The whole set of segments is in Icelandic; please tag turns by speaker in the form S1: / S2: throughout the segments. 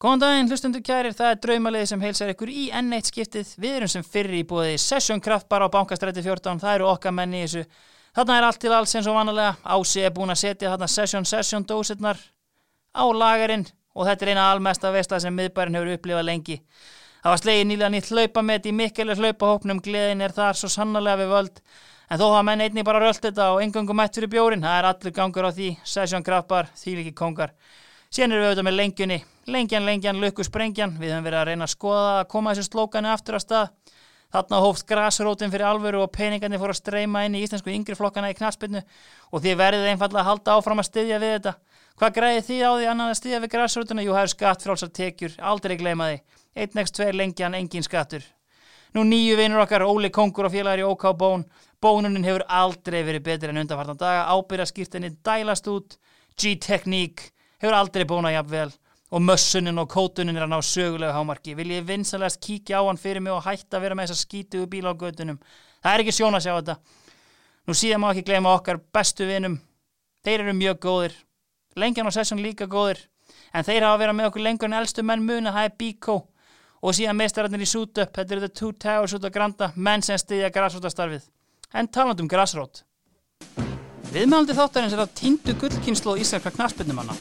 S1: Góðan daginn, hlustundur kærir, það er draumalið sem heilsar ykkur í enn eitt skiptið. Við erum sem fyrri í bóði Session Kraft bara á Bankastræti 14, það eru okkar menn í þessu. Þarna er allt til alls eins og vanalega, Ási er búin að setja þarna Session Session dósirnar á lagarinn og þetta er eina almesta vesta sem miðbærin hefur upplifað lengi. Það var slegið nýlega nýtt hlaupamet í mikilvæg hlaupahópnum, gleðin er þar svo sannarlega við völd. En þó hafa menn einni bara rölt þetta og engöngu mætt fyrir bjórin, það er allur gangur á því, Session Kraft bar, því kongar. Síðan erum við auðvitað með lengjunni, lengjan, lengjan, lukku sprengjan, við höfum verið að reyna að skoða að koma þessu slókanu aftur á stað. Þarna hófst grasrótin fyrir alvöru og peningarnir fóru að streyma inn í íslensku yngri flokkana í knarspinnu og þið verðið einfallega að halda áfram að styðja við þetta. Hvað græði því á því annan að styðja við grasrótuna? Jú, það eru skattfrálsar tekjur, aldrei gleyma því. 1x2 lengjan, engin skattur. Nú nýju vinur okkar, Óli Kongur og félagar í OK Bón. Bónunin hefur aldrei verið betri en undanfartan daga. Ábyrðaskýrtinni dælast út. G-Technique hefur aldrei bónað jafnvel. Og mössunin og kótunin er að ná sögulegu hámarki. Vil ég vinsalegast kíkja á hann fyrir mig og hætta að vera með þessa skítugu bíla á götunum. Það er ekki sjón að sjá þetta. Nú síðan má ekki gleyma okkar bestu vinum. Þeir eru mjög góðir. Lengjan og sessun líka góðir. En þeir hafa verið með okkur lengur en elstu menn muna, það er Bíkó. Og síðan meistararnir í Sútöp, þetta eru The Two Towers út á Granda, menn sem styðja grassrótastarfið. En talandum grassrót. Viðmælandi þáttarins er að tindu gullkynslu og íslenska knarsbyndumanna.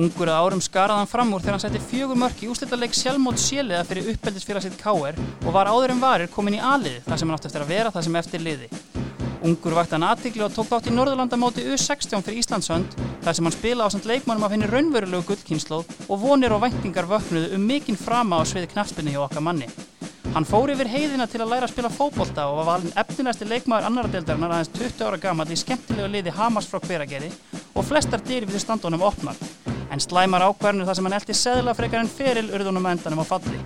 S1: Ungur að árum skaraðan fram úr þegar hann sætti fjögur mörk í úslitaleik sjálfmót séliða fyrir uppeldisfélagsið KR og var áður en varir komin í aliði þar sem hann átti eftir að vera það sem eftir liði. Ungur vakti hann aðtikli og tók þátt í Norðurlandamóti U16 fyrir Íslandsönd þar sem hann spila á samt leikmannum af henni raunverulegu gullkynslu og vonir og væntingar vöknuðu um mikinn frama á sviði knarsbyndu hjá okkar manni. Hann fór yfir heiðina til að læra að spila fótbolta og var valinn efnilegasti leikmaður annara deildarinnar aðeins 20 ára gamall í skemmtilegu liði Hamas frá hveragerði og flestar dyr við standunum opnar. En slæmar ákvarnir þar sem hann eldi seðla frekar en feril urðunum endanum á falli.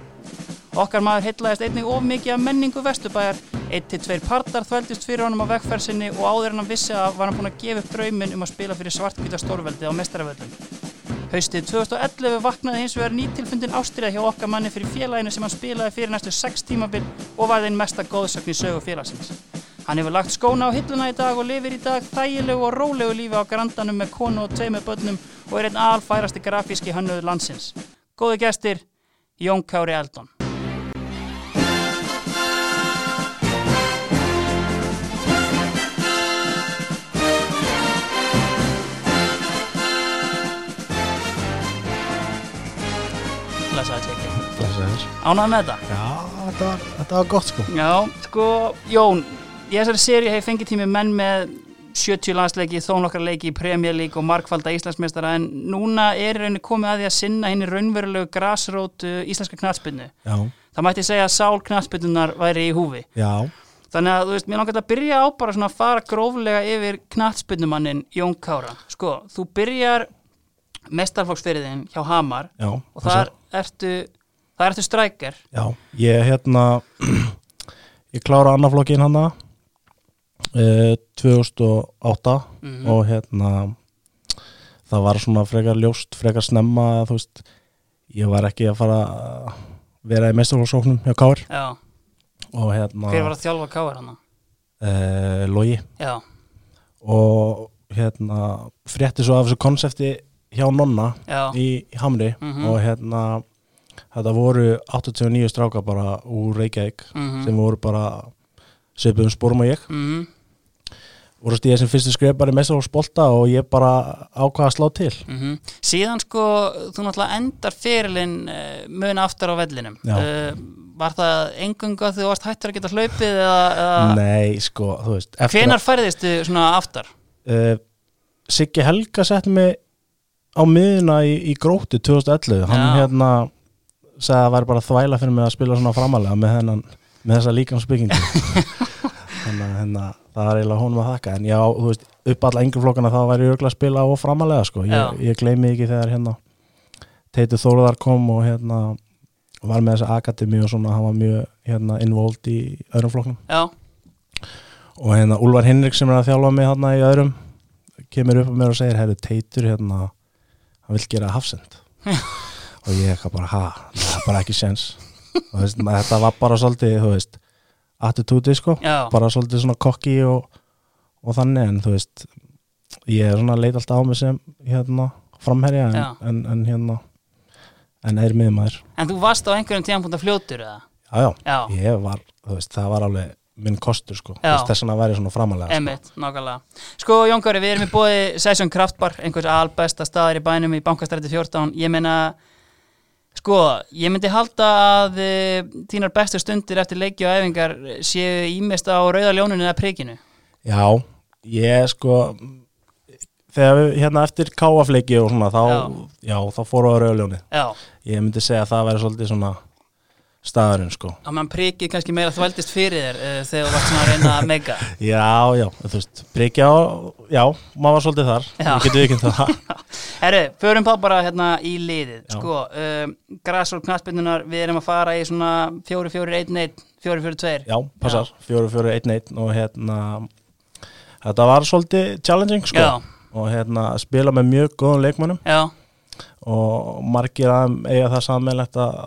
S1: Okkar maður heitlaðist einnig of mikið af menningu vestubæjar, eitt til tveir partar þvældist fyrir honum á vegferðsynni og áður en hann vissi að var hann búinn að gefa upp drauminn um að spila fyrir svartkvita stórveldið á mestaravöldum. Haustið 2011 vaknaði hins vegar nýtilfundin ástriða hjá okkar manni fyrir félaginu sem hann spilaði fyrir næstu 6 tímabil og var þeim mesta góðsögn í sögu félagsins. Hann hefur lagt skóna á hilluna í dag og lifir í dag þægilegu og rólegu lífi á grandanum með konu og tveimu börnum og er einn alfærasti grafíski hönnuður landsins. Góðu gestir, Jón Kári Eldon. Blessaði tjekki.
S2: Blessaður.
S1: Ánægð með þetta.
S2: Já, þetta var, þetta var gott sko.
S1: Já, sko, Jón, í þessari séri hef ég fengið tími menn með 70 landsleiki, þó nokkra leiki í Premier League og markvalda Íslandsmeistara en núna er í rauninni komið að því að sinna henni raunverulegu grasrót uh, íslenska knatspinnu.
S2: Já,
S1: Það mætti segja að sál knatspinnunar væri í húfi.
S2: já,
S1: Þannig að, þú veist, mér langar að byrja á bara svona að fara gróflega yfir knatspinnumannin Jón Kára. Sko, þú byrjar mestarflokksfyrirðin hjá Hamar
S2: já.
S1: og þar ertu, þar ertu strækjar.
S2: Já, ég hérna, ég klára annaflokkin hana eh, 2008
S1: Mhm.
S2: og hérna, það var svona frekar ljóst, frekar snemma, þú veist, ég var ekki að fara að vera í meistarflokksóknum hjá Kár
S1: Já,
S2: og hérna,
S1: hver var að þjálfa Kára hana?
S2: eh, Logi
S1: Já,
S2: og hérna, frétti svo af þessu konsepti hjá Nonna
S1: já.
S2: í í Hamri
S1: Mhm.
S2: og hérna þetta voru 89 strákar bara úr Reykjavík
S1: Mhm.
S2: sem voru bara svipum sporum og ég
S1: Mhm,
S2: voru stíðið sem fyrstu skrepar í mestar og spolta og ég bara ákvaða að slá til
S1: mhm. Síðan sko, þú náttúrulega endar fyrirlin uh, mun aftur á vellinum.
S2: Já.
S1: Eh, var það engunga þegar þú varst hættur að geta hlaupið eða, eða
S2: Nei, sko, þú veist eftir
S1: hvenar færðistu svona aftur?
S2: að, uh, Siggi Helga setti mig á miðuna í, í gróttu 2011
S1: Já.
S2: hann hérna sagði að það væri bara þvæla fyrir mig að spila svona framalega með, hennan, með þessa líkansbyggingu þannig að hérna, það er eiginlega honum að þakka en já, þú veist, upp alla yngur flokkana þá væri ég örugglega að spila og framalega sko.
S1: Já.
S2: ég, ég gleymi ekki þegar hérna Teitur Þóruðar kom og hérna var með þessa akademi og svona hann var mjög hérna involved í öðrum flokknum
S1: Já,
S2: og hérna Úlvar Hinrik sem er að þjálfa mig hérna í öðrum kemur upp á mér og segir herru Teitur hérna hann vil gera hafsend og ég eitthvað bara ha, það er bara ekki séns og veist, maður- þetta var bara svolítið þú veist, attitúti sko
S1: já,
S2: bara svolítið svona kokki og, og þannig en þú veist ég er svona að leita alltaf á mig sem hérna framherja en,
S1: Já.
S2: en, en hérna en er miðmaður
S1: En þú varst á einhverjum tíðanpunkt að fljótur eða?
S2: já, já,
S1: Já.
S2: ég var, þú veist, það var alveg minn kostur sko,
S1: Já.
S2: Þú veist, þess vegna var ég svona framalega sko.
S1: Emmitt, nákvæmlega. Sko, Jónkari, við erum í bóði Session Kraftbar, einhvers albesta staðar í bænum í Bankastræti 14. Ég meina, sko, ég myndi halda að e, þínar bestu stundir eftir leiki og æfingar séu ímest á rauða ljóninu eða prikinu.
S2: já, ég sko þegar við hérna eftir káafleiki og svona, þá, já, þá fóru á rauðljóni
S1: Já,
S2: ég myndi segja að það væri svolítið svona staðurinn sko
S1: á meðan prikið kannski meira þvældist fyrir þér e, þegar þú vart svona að reyna að mega.
S2: já, já, þú veist, prikja á- já, maður var svolítið þar,
S1: Já.
S2: ég getur ekki um það
S1: Herru, förum þá bara hérna í liðið
S2: Já.
S1: sko, um, græsvól knastbyndunar við erum að fara í svona 4-4-1-1 4-4-2
S2: Já, passar, 4-4-1-1 og hérna þetta var svolítið challenging sko
S1: Já.
S2: og hérna spila með mjög góðum leikmönnum
S1: Já,
S2: og margir að eiga það sammeinlegt að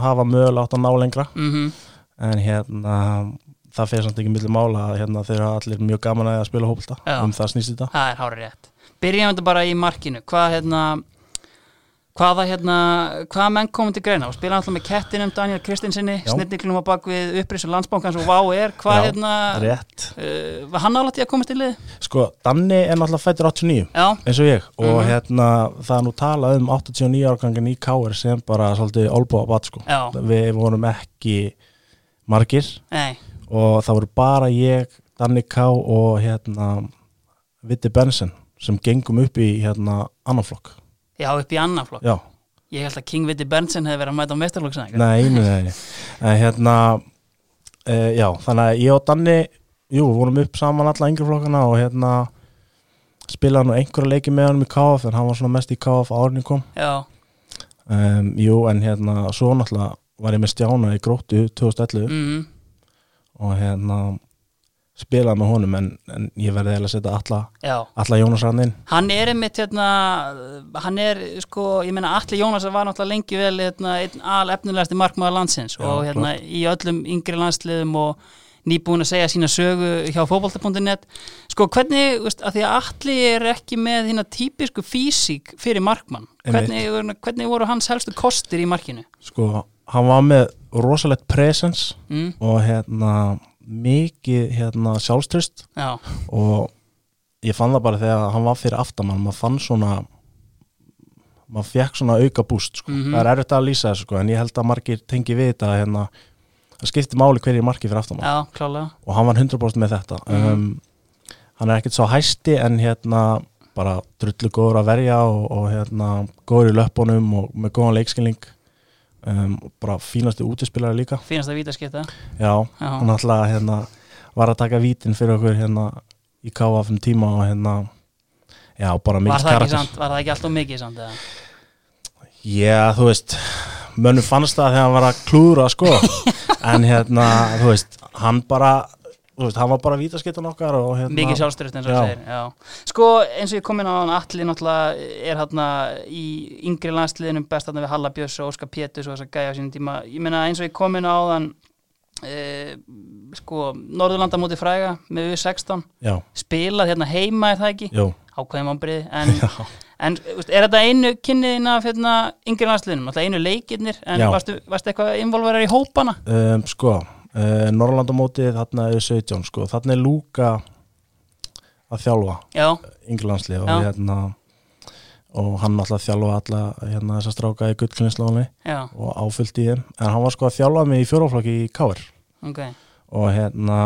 S2: hafa mögulega átt að ná lengra
S1: mhm,
S2: en hérna það fyrir samt ekki milli mála að hérna þeir eru allir mjög gaman að því að spila hópulta
S1: Já.
S2: um það snýst þetta
S1: það er hárið rétt Byrjum þetta bara í markinu Hvað hérna Hvaða hérna, hvaða menn komið til greina og spila alltaf með kettinum Daniel Kristinsinni,
S2: Já.
S1: snittinglum á bak við upprisu landsbankans og vá er, hvað
S2: Já,
S1: hérna
S2: Rétt
S1: uh, var hann álætti að komast í lið?
S2: Sko, Danni er náttúrulega fættur 89
S1: Já,
S2: eins og ég og hérna það er nú talað um 89 árgangin í Káir sem bara svolítið olbúa bat sko
S1: Já.
S2: við vorum ekki margir
S1: nei,
S2: og það voru bara ég, Danni Ká og hérna Vitti Benson sem gengum upp í hérna annan flokk
S1: já upp í annan flokk
S2: Já,
S1: Ég held að King Vitti Berntsen hefði verið að mæta á mestarflokksæðing
S2: nei, nei, nei, nei. En, hérna, e, já, þannig að ég og Danni jú, við vorum upp saman alla yngri flokkana og hérna spilaði nú einhverja leiki með honum í KF en hann var svona mest í KF árni kom
S1: Já,
S2: um, Jú, en hérna, svo náttúrulega var ég með Stjána í gróttu 2011
S1: mhm
S2: og hérna spilaði með honum en, en ég verði eiginlega að setja alla,
S1: Já,
S2: alla Jónas rann inn
S1: hann er einmitt hérna, hann er sko, ég meina Alli Jónas var náttúrulega lengi vel hérna, einn al efnilegasti markmaður landsins
S2: Já,
S1: og hérna í öllum yngri landsliðum og nýbúin að segja sína sögu hjá fótbolta.net sko hvernig, þú veist, að því að Alli er ekki með hérna típisku físík fyrir markmann,
S2: Einmitt.
S1: hvernig, hvernig voru hans helstu kostir í markinu?
S2: Sko, hann var með rosalegt presence
S1: Mm?
S2: og hérna mikið hérna sjálfströst
S1: Já,
S2: og ég fann það bara þegar hann var fyrir aftamann, maður fann svona maður fekk svona auka búst sko.
S1: Mhm.
S2: það er erfitt að lýsa þessu sko, en ég held að margir tengi við þetta hérna, það skipti máli hverju margi fyrir aftamann
S1: já, klálega
S2: og hann var 100% með þetta um, hann er ekkert svo hæsti en hérna bara drullu góður að verja og, og hérna góður í löppunum og með góðan leikskilning um, og bara fínasti útispilari líka
S1: finnast að víta skipta
S2: já,
S1: Já.
S2: hann alltaf hérna var að taka vítin fyrir okkur hérna í KFM tíma og hérna já, bara
S1: var
S2: mikil
S1: það, ekki
S2: karakter
S1: samt, var það ekki alltaf mikið samt eða?
S2: Já, þú veist, mönnum fannst það þegar hann var að klúra, sko en hérna, þú veist, hann bara þú veist, hann var bara vítaskittan okkar og hérna,
S1: mikið sjálfstyrst eins og
S2: Já.
S1: það segir já. sko eins og ég kom inn á hann allir náttúrulega er hérna í yngri landsliðinum best hérna við Halla Björns og Óskar Pétus og þess að gæja á sínum tíma ég meina eins og ég kom inn á hann e, sko Norðurlanda móti fræga með U16
S2: Já,
S1: spilað hérna heima er það ekki
S2: jú
S1: ákveðum ámbrið en, en þú veist, er þetta einu kynniðin af hérna, yngri landsliðinum, alltaf einu leikirnir en
S2: Já.
S1: varstu, varstu eitthvað involverar í hópana
S2: um, sko uh, Norrlandamótið þarna er 17 sko, þarna er Lúka að þjálfa
S1: já,
S2: ynglandslið
S1: Já.
S2: og hérna og hann alltaf þjálfa alla hérna þessa stráka í gullklinslóni
S1: já,
S2: og áfyllt í þeim, en hann var sko að þjálfa mig í fjóraflokki í Káir
S1: ok
S2: og hérna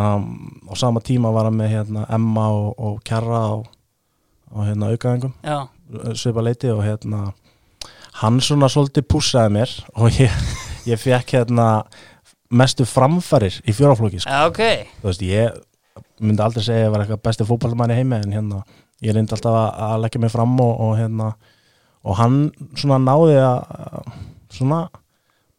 S2: á sama tíma var hann með hérna Emma og, og Kjarra og, og hérna aukaðingum
S1: já,
S2: svipa leiti og hérna hann svona svolítið pússaði mér og ég, ég fekk hérna mestu framfærir í fjóraflóki sko.
S1: já, ok
S2: þú veist ég myndi aldrei segja að ég var eitthvað besti fótballmann í heimi en hérna ég reyndi alltaf að, að leggja mig fram og, og hérna og hann svona náði að svona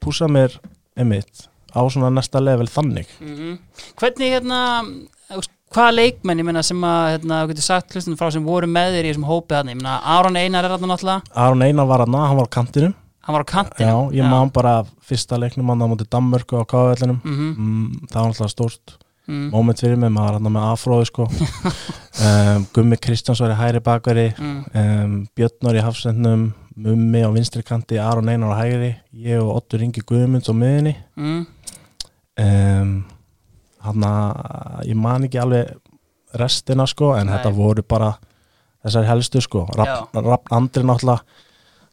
S2: pússa mér einmitt á svona næsta level þannig
S1: -hmm. Hvernig hérna þú veist, hvaða leikmenn, ég meina sem að hérna, þú getur sagt hlustinu frá sem voru með þér í þessum hópi þarna, ég meina Aron Einar er þarna náttúrulega
S2: Aron Einar var hann, hann var á kantinum
S1: hann var á kantinu
S2: Já, ég man bara fyrsta leiknum hann á móti Danmörku á KV-vellinum
S1: mm
S2: mm, það var alltaf stórt
S1: mm.
S2: moment fyrir mig, maður hann með afróðu sko um, Gummi Kristjáns var í hægri bakveri
S1: Mm.
S2: um, Björnur í hafsendnum Mummi á vinstri kanti, Aron Einar á hægri ég og Ottur Ingi Guðmunds á miðinni
S1: Mm.
S2: um, hann að ég man ekki alveg restina sko en
S1: Nei.
S2: þetta voru bara þessar helstu sko Rafn Rafn Andri náttúrulega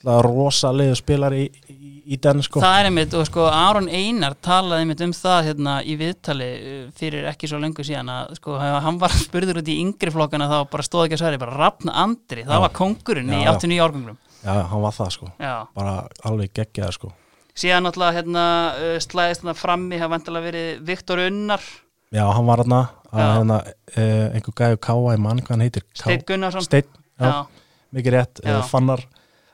S2: náttúrulega rosalegu spilar í, í, í den sko
S1: Það er einmitt og sko Aron Einar talaði einmitt um það hérna í viðtali uh, fyrir ekki svo lengu síðan að sko hann var spurður út í yngri flokkana þá bara stóð ekki að sværi, bara Rafn Andri, það
S2: Já.
S1: var kongurinn í
S2: Já, já.
S1: 89 árgöngrum.
S2: já, hann var það sko,
S1: Já,
S2: bara alveg geggjaður sko
S1: síðan náttúrulega hérna uh, slæðist hérna frammi, hafa vantilega verið Viktor Unnar,
S2: já, hann var hann að
S1: Já.
S2: hérna, eh, einhver gæðu káa í mann, hvað hann heitir Ká-
S1: Steinn Gunnarsson.
S2: Steinn, já,
S1: Já,
S2: mikið rétt
S1: Já.
S2: já. fannar,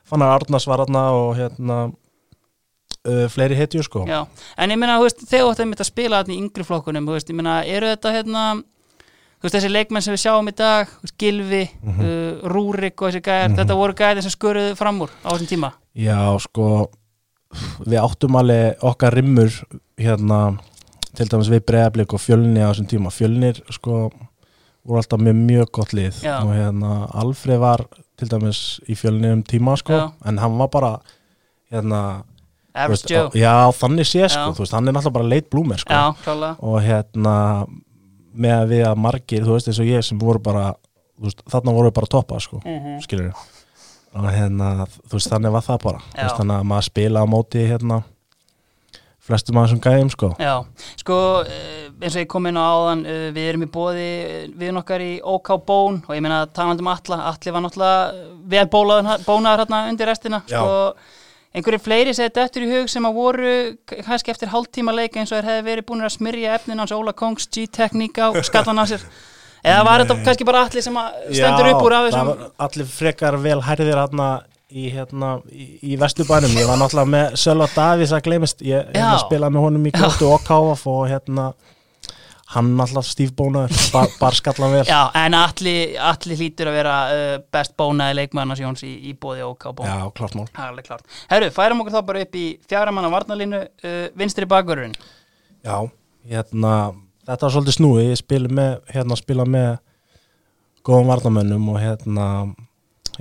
S2: fannar Arnars var hann og hérna uh, fleiri hetjur sko
S1: já, en ég meina, þú veist, þegar þú ætti einmitt að spila þarna í yngri flokkunum, þú veist, ég meina, eru þetta hérna, þú veist, þessi leikmenn sem við sjáum í dag, þú veist, Gilvi,
S2: Mhm.
S1: uh, Rúrik og þessi gæðar, þetta voru gæðir sem sköruðu fram úr á þessum tíma.
S2: Já, sko við áttum alveg okkar rimmur hérna, til dæmis við breyðablík og fjölni á þessum tíma fjölnir, sko, voru alltaf með mjög gott lið
S1: Já.
S2: og hérna Alfreð var til dæmis í fjölni um tíma, sko,
S1: Já.
S2: en hann var bara hérna þú
S1: Average
S2: veist,
S1: Joe.
S2: á- Já, þannig sé, sko,
S1: Já.
S2: þú veist, hann er náttúrulega bara leit blúmer, sko,
S1: Já, klálega
S2: og hérna með að við að margir, þú veist, eins og ég sem voru bara, þú veist, þarna voru við bara toppa, sko skilur og hérna, þú veist, þannig var það bara
S1: Já.
S2: þú veist, þannig að maður spila á móti hérna flestum að þessum gæðum sko
S1: Já, sko eh, eins og ég kom inn á áðan eh, við erum í bóði við nokkar í OK Bón og ég meina talandi um Atla Atli var náttúrulega vel bólaður, bónaður hérna undir restina
S2: Já.
S1: sko, einhverju fleiri segði döttur í hug sem að voru k- kannski eftir hálftíma leika eins og þeir hefði verið búin að smyrja efnin hans Óla Kongs G-Technic á skallan að sér eða var þetta kannski bara Atli sem að stendur upp úr af
S2: Eh, það
S1: þessum
S2: var allir frekar vel hærðir hérna í, hérna, í, í vesturbænum ég var náttúrulega með Sölva Davís að gleymist ég hérna,
S1: Já.
S2: spilaði með honum í kjóttu og káf og hérna hann náttúrulega stífbónaður bar, barskallan vel
S1: Já, en Atli, Atli hlýtur að vera uh, best bónaði leikmann hans Jóns í, í bóði OK Bón
S2: Já, klart mál
S1: Það er alveg klart. Herru, færum okkur þá bara upp í fjaramanna varnalínu uh, vinstri bakvörðurinn.
S2: Já, hérna þetta var svolítið snúið, ég spila með hérna spila með góðum varnamönnum og hérna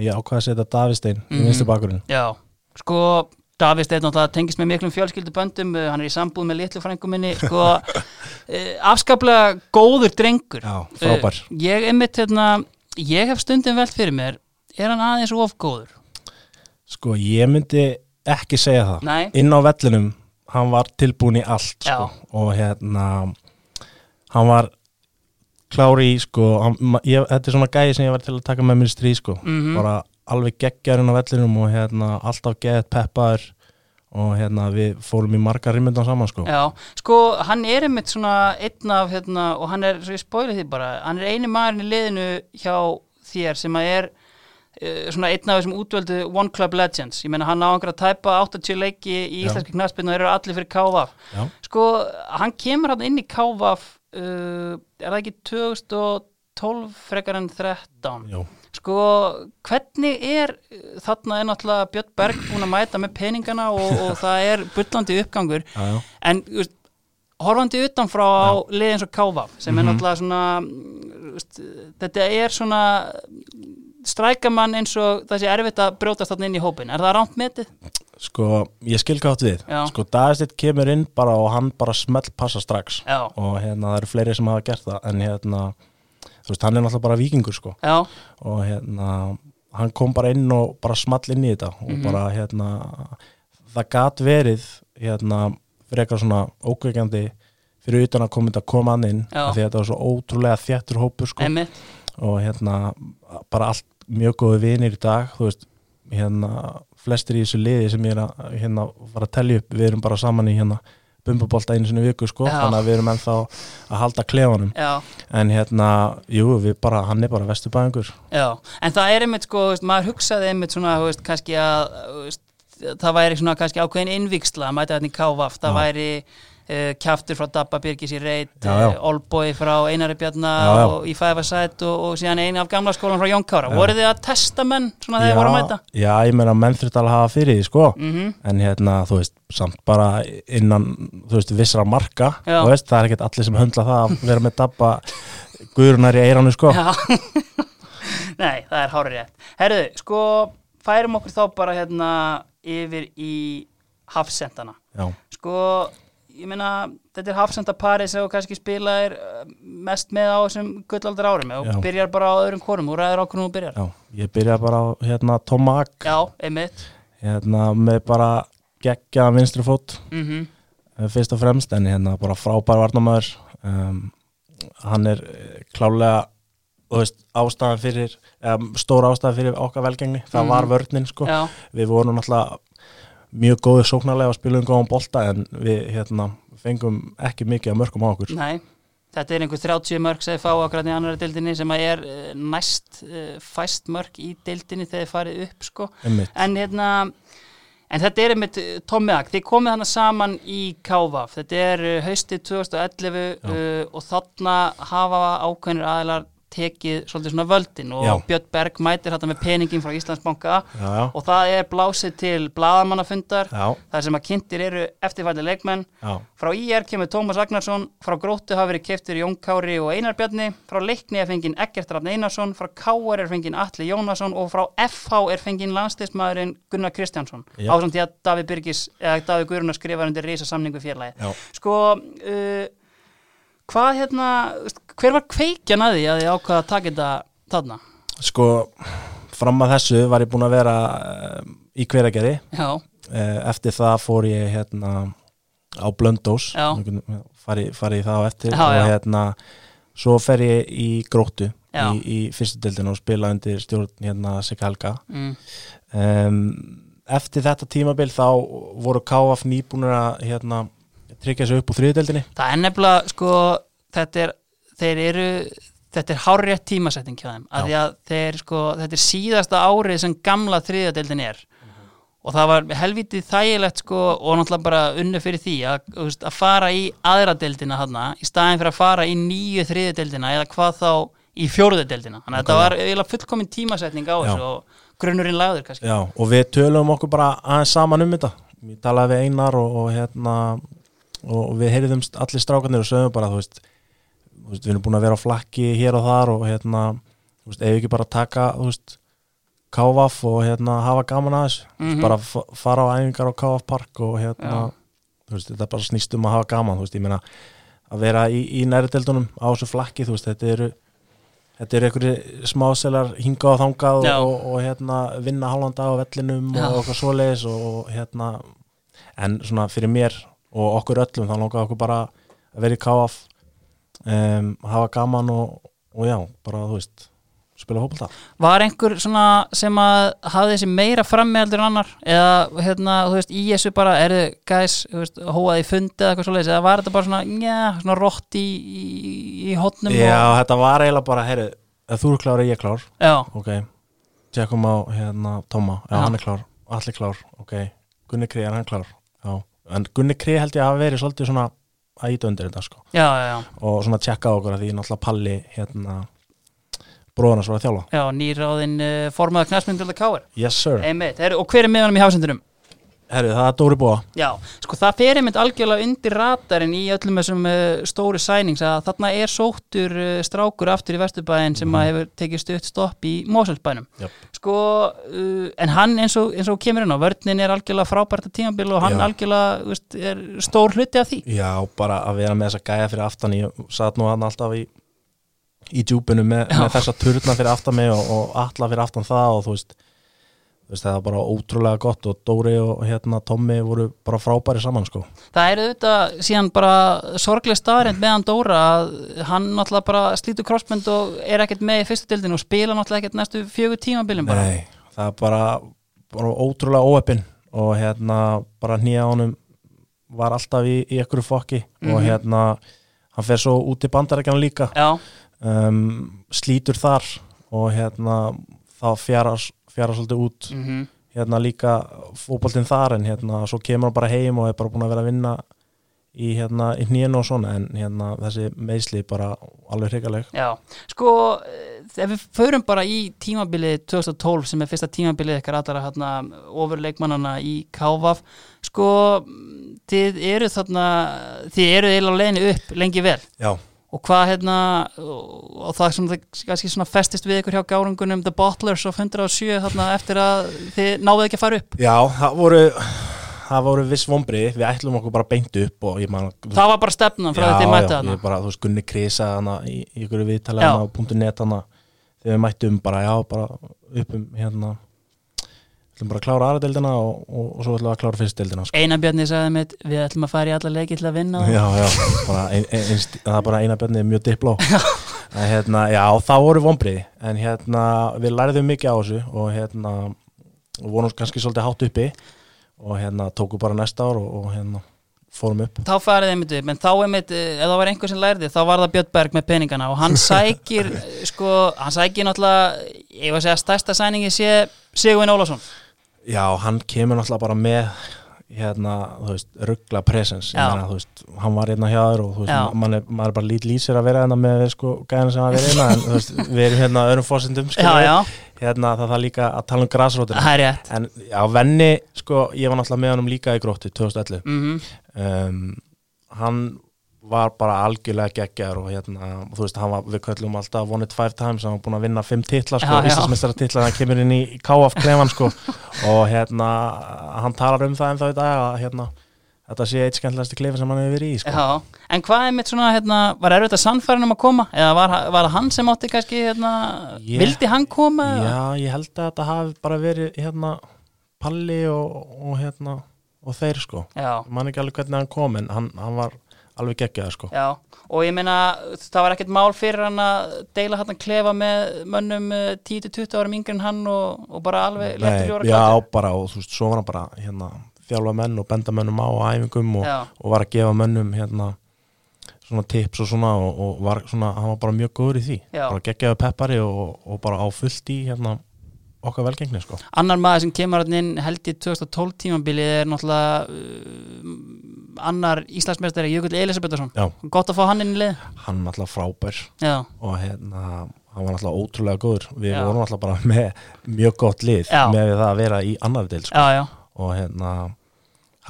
S2: ég ákvaði að setja Davistein
S1: Mhm.
S2: í vinstu bakurinn
S1: Já, sko, Davís Steinn náttúrulega tengist með miklum fjölskylduböndum, uh, hann er í sambúð með litlu frængum minni, sko, uh, afskaplega góður drengur.
S2: Já, frábær.
S1: Uh, ég einmitt, hérna, ég hef stundum velt fyrir mér, er hann aðeins of góður?
S2: Sko, ég myndi ekki segja það
S1: Nei.
S2: inn á vellinum, hann var tilbúin í allt
S1: Já.
S2: sko, og hérna hann var klári í, sko hann, ma- ég, þetta er svona gæði sem ég var til að taka með mér í stríð, sko,
S1: Mhm.
S2: bara alveg geggjarinn á vellinum og hérna alltaf geðið peppaður og hérna við fórum í marga rimmundan saman, sko
S1: Já, sko, hann er einmitt svona einn af, hérna, og hann er, svo ég spóli því bara, hann er eini maðurinn í liðinu hjá þér sem að er uh, svona einn af þessum útvöldu One Club Legends, ég meina hann á einhverja tæpa 80 leiki í
S2: Já.
S1: íslenski knaspinu og þeir eru allir fyrir KVF.
S2: Já.
S1: Sko, hann kemur hann inn í KVF, uh, er það ekki 2012 frekar en 13?
S2: Jú.
S1: Sko, hvernig er uh, þarna er náttúrulega Björn Berg búin að mæta með peningana og, og það er bullandi uppgangur
S2: Já, já.
S1: en þú veist, horfandi utanfrá á lið eins og Káfa sem er náttúrulega svona þú veist, þetta er svona strækamann eins og það sé erfitt að brjótast þarna inn í hópin, er það rámt metið?
S2: Sko, ég skil hvað átt við
S1: Já.
S2: Sko, Davisteinn kemur inn bara og hann bara smelt passa strax
S1: Já.
S2: og hérna, það eru fleiri sem hafa gert það en hérna, þú veist, hann er náttúrulega bara vikingur sko,
S1: Já,
S2: og hérna hann kom bara inn og bara small inn í þetta og
S1: Mhm.
S2: bara, hérna það gat verið, hérna frekar svona ókveikjandi fyrir utan að koma þetta koma hann inn
S1: Já.
S2: af því að þetta var svo ótrúlega þjættur hópur sko
S1: einmitt
S2: og hérna bara allt mjög góði vinir í dag þú veist, hérna flestir í þessu liði sem ég er að hérna var að telja upp, við erum bara saman í hérna bumbubolta einu sinni í viku sko
S1: Já.
S2: þannig að við erum ennþá að halda klefanum
S1: Já,
S2: en hérna, jú, við bara, hann er bara vesturbæðingur
S1: já, en það er einmitt sko, þú veist, maður hugsaði einmitt svona þú veist, kannski að þú veist, það væri svona kannski ákveðin innvíksla að mæta þarna í Káfa það væri uh, kjaftur frá Dabba Birgis í reit
S2: Já, já.
S1: Olboi frá Einari Bjarna
S2: Já, já.
S1: og í Fæfarsæt og, og síðan einu af gamla skólan frá Jón Kára voru þið að testa menn svona þegar þið voru að mæta? Mhm.
S2: já, ég meina menn þurft alveg að hafa fyrir því sko. en hérna, þú veist, samt bara innan, þú veist, vissra marka
S1: Já.
S2: þú veist, það er ekkert allir sem höndla það að vera með dabba guðrunar í eiranu sko.
S1: Já Nei, það er hárið rétt Herðu, sko, færum okkur þá bara hérna yfir í hafsendana
S2: já,
S1: Sko, ég meina þetta er hafsendapari sem þú kannski spilaðir eh, mest með á þessum gullaldar árum og
S2: Já.
S1: byrjar bara á öðrum konum, úr aðra okkur nú byrjar Já,
S2: já, ég byrjaði bara á hérna, Toma Ak,
S1: einmitt
S2: hérna, með bara geggja vinstri fót
S1: mm
S2: eh, fyrst og fremst, en hérna bara frábær varnamæður um, hann er eh, klálega þú veist, ástæðan fyrir um, stóra ástæðan fyrir okkar velgengni það
S1: Mhm.
S2: var vörnin sko
S1: Já,
S2: við vorum náttúrulega mjög góðið sóknarlega og spilum góðan bolta en við hérna, fengum ekki mikið að mörgum á okkur
S1: nei Þetta er einhver 30 mörg sem þið fá akkurat í annara deildinni sem að er eh, næst eh, fæst mörg í deildinni þegar þið farið upp sko.
S2: einmitt,
S1: en hérna en þetta er einmitt uh, Tommy Ak þið komið hana saman í Kávaf þetta er uh, haustið 2011
S2: Já.
S1: uh, og þarna hafa ákveðnir aðilar tekið svolítið svona völdin og
S2: Já.
S1: Björn Berg mætir þetta með peningin frá Íslandsbanka
S2: já, já,
S1: og það er blásið til blaðamannafundar
S2: já,
S1: þar sem að kynntir eru eftirfæðli leikmenn
S2: já,
S1: frá IR kemur Tómas Agnarsson frá Gróttu hafa verið keftur Jón Kári og Einar Bjarni frá Leikni er fenginn Eggert Rafn Einarsson frá KR er fenginn Atli Jónasson og frá FH er fenginn landslismæðurinn Gunnar Kristjánsson
S2: Já.
S1: ásamt því að Davi Birgis eða Davi Guðrunar skrifar undir reysa samningu fjarlægi
S2: já.
S1: sko uh, hvað hérna hver var kveikjan að því að þið ákvaða að taka þetta þarna
S2: sko fram að þessu var ég búin að vera um, í hveragerði
S1: já,
S2: Eh, eftir það fór ég hérna á Blöndós
S1: Já.
S2: farið fari það á eftir
S1: Já,
S2: og
S1: já.
S2: hérna svo fer ég í gróttu í,
S1: Já.
S2: í fyrstu deildinu og spila undir stjórn hérna Sig Helga
S1: mm,
S2: um, eftir þetta tímabil þá voru KF nýbúnir að hérna, tryggja sig upp úr þriðdeldinni
S1: það er nefnilega sko þetta er, þeir eru þetta er hárétt tímasetting hjá þeim að því að þeir sko, þetta er síðasta árið sem gamla þriðadeildin er og það var helvítið þægilegt sko og náttúrulega bara unnu fyrir því að, þú veist, að fara í aðra deildina þarna í staðin fyrir að fara í nýju þriðadeildina eða hvað þá í fjóruðadeildina þannig að þetta var eiginlega fullkomin tímasetning á
S2: Já.
S1: þessu og grunnurinn lagður kannski
S2: Já, og við tölum okkur bara aðeins saman um þetta Ég talaði við Einar og, og hérna og við heyrðum st- allir strákanir og sögum bara, þú veist, þú veist við erum búin að vera á flakki hér og þar og hérna, þú veist, ef við ekki bara taka þú veist, KVF og hérna hafa gaman aðeins, mm
S1: Mhm.
S2: -hmm. bara f- fara á æfingar á KVF park og
S1: Já.
S2: hérna þú veist, þetta er bara snýst um að hafa gaman þú veist, ég meina að vera í, í næriðeldunum á þessu flakki, þú veist, þetta eru þetta eru einhverju smáselar hingað og þangað
S1: Já.
S2: og, og, og hérna vinna hálfan dag á vellinum
S1: Já.
S2: og okkar svoleiðis og, og hérna en svona fyrir mér og okkur öllum þá langaði okkur bara að vera í káaf um, hafa gaman og, og já, bara þú veist spila fótbolta
S1: Var einhver svona sem að hafði þessi meira frammi heldur en annar eða hérna, þú veist, í þessu bara erðu gæs, þú veist, hóaði fundi eða eitthvað svoleiðis, eða var þetta bara svona, njá, svona rótt í, í, í hotnum og,
S2: Já, þetta var eiginlega bara, heyri, ef þú eru klár er ég klár
S1: já,
S2: ok, tjekkum á hérna Tóma, já,
S1: Já.
S2: hann er klár, allir klár ok, Gunni Kri, er hann klár já, en Gunni Kri held ég að hafa verið svolítið svona að íta undir þetta sko
S1: já, já, já,
S2: og svona tjekka á okkur að því náttúrulega Palli hérna bróðan hans var að þjálfa
S1: já nýráðin uh, formaður knæsmyndilda káir
S2: Yes sir,
S1: einmitt, er, og hver er með honum í hafsendunum?
S2: herru það er Dóri Bóa
S1: Já, sko það fer einmitt algjörlega undir ratarinn í öllum þessum uh, stóru sænings að þarna er sóttur uh, strákur aftur í Vesturbæðin sem
S2: Mhm.
S1: að hefur tekið stutt stopp í Moselsbænum
S2: Jöp.
S1: sko, uh, en hann eins og, eins og þú kemur inn á, vörnin er algjörlega frábært að tímabil og hann
S2: Já.
S1: algjörlega þú veist, er stór hluti af því
S2: Já, bara að vera með þessa gæja fyrir aftan ég satt nú hann alltaf í í djúpinu með, með þessa turna fyrir aftan mig og, og alla fyrir aftan það og þú veist, þú veist það var bara ótrúlega gott og Dóri og hérna Tommi voru bara frábæri saman sko
S1: það er auðvitað síðan bara sorgleg staðarind meðan Dóra að hann náttúrulega bara slítur krossmynd og er ekkert með í fyrstu dildin og spila náttúrulega ekkert næstu fjögur tímabilum bara
S2: Nei, það er bara, bara ótrúlega óöppin og hérna bara nýja honum var alltaf í, í einhverju fokki
S1: Mhm.
S2: og hérna hann fer svo út í bandarækjana líka
S1: Já,
S2: um, slítur þar og hérna þá fjara, fjara svolítið út
S1: mm
S2: hérna líka fótboltinn þar en hérna svo kemur hann bara heim og er bara búin að vera að vinna í í, hérna, í hnýinu og svona en hérna, þessi meðsli bara alveg hrikaleg
S1: Já, sko eh, ef við förum bara í tímabilið 2012 sem er fyrsta tímabilið ykkar allara hérna, ofurleikmannana í Kávaf sko, mm, þið eru þarna, þið eru eiginlega á leiðinu upp lengi vel
S2: Já,
S1: og hvað hérna og og það sem það kannski svona festist við ykkur hjá gárungunum The Bottlers of 107 þarna eftir að þið náðuð ekki að fara upp
S2: Já það voru það voru viss vombrið, við ætlum okkur bara beint upp og ég man
S1: það var bara stefnan frá því þið mættu
S2: já,
S1: þarna
S2: ég bara, þú veist, Gunni Krisa hana, í, í ykkur viðtala
S1: Já.
S2: hana á punktu net hana þegar við mættum bara, já, bara upp um hérna ætlum bara að klára aðra deildina og, og, og svo ætlum við að klára fyrst deildina sko.
S1: Einar Bjarni sagði mitt, við ætlum að fara í alla leiki til að vinna það
S2: já, já, bara ein, ein, ein, það er bara eina björnið mjög dipló en hérna, já, það voru vombrið en hérna, við læriðum mikið á þessu og hérna, vorum kannski svolítið hátt uppi og hérna, tóku bara næsta ár og, og hérna, fórum upp
S1: þá farið einmitt upp, en þá einmitt eh, ef það var einhver sem lærði, þá var það Björn Berg með peningana og hann sækir eh, sko, hann sækir náttúrulega, ég var að segja stærsta sæningi sé Sigurinn Ólafsson
S2: Já, hann kemur náttúrulega bara með hérna, þú veist, ruggla presens ég
S1: Já.
S2: meina, þú veist, hann var hérna hjá þér og þú
S1: Já.
S2: veist, mann er, maður er bara lít lýsir að vera hérna með sko gæðina sem að vera hérna en þú veist, við erum hérna á öðrum fósindum
S1: já, já,
S2: hérna það þarf líka að tala um grasrótina
S1: það er rétt
S2: en já, venni, sko, ég var náttúrulega með honum líka í gróttu 2011
S1: mm
S2: um, hann var bara algjörlega geggjar og hérna, og þú veist, hann var, við köllum alltaf won it five times, hann var búin að vinna fimm titla, sko,
S1: Já, já.
S2: Íslandsmeistara titla, hann kemur inn í KF klefan, sko og hérna, hann talar um það en þá í dag að hérna, þetta sé eitt skemmtilegasti klefin sem hann hefur verið í, sko
S1: Já, en hvað er mitt svona, hérna, var erfitt að sannfærin um að koma? Eða var, var það hann sem átti kannski, hérna,
S2: Ég-
S1: vildi hann koma? eða?
S2: Já, ég held að þetta hafi bara verið hérna, Palli og, og hérna, og þeir, sko
S1: Já,
S2: man ekki alveg hvernig hann kom, en hann, hann var alveg geggjaður, sko
S1: já, og ég meina, það var ekkert mál fyrir hann að deila hann að klefa með mönnum eh, 10-20 árum yngri en hann og, og bara alveg léttur
S2: Nei,
S1: fjóra
S2: já, bara og þú veist, svo var hann bara hérna, þjálfa menn og benda mönnum á á æfingum og,
S1: Já.
S2: og var að gefa mönnum hérna, svona tips og svona og, og var svona, hann var bara mjög góður í því
S1: Já.
S2: bara geggjaðu peppari og, og bara á fullt í hérna, okkar velgengni sko.
S1: Annar maður sem kemur hann inn held í 2012 tímabilið er náttúrulega uh, annar Íslandsmeistari Jökull Elisabetharsson.
S2: Já,
S1: Gott að fá hann inn í lið.
S2: hann var alltaf frábær
S1: Já,
S2: og hérna, hann var alltaf ótrúlega góður við
S1: Já.
S2: vorum alltaf bara með mjög gott lið
S1: Já.
S2: með það að vera í annar deil sko.
S1: já, já.
S2: og hérna,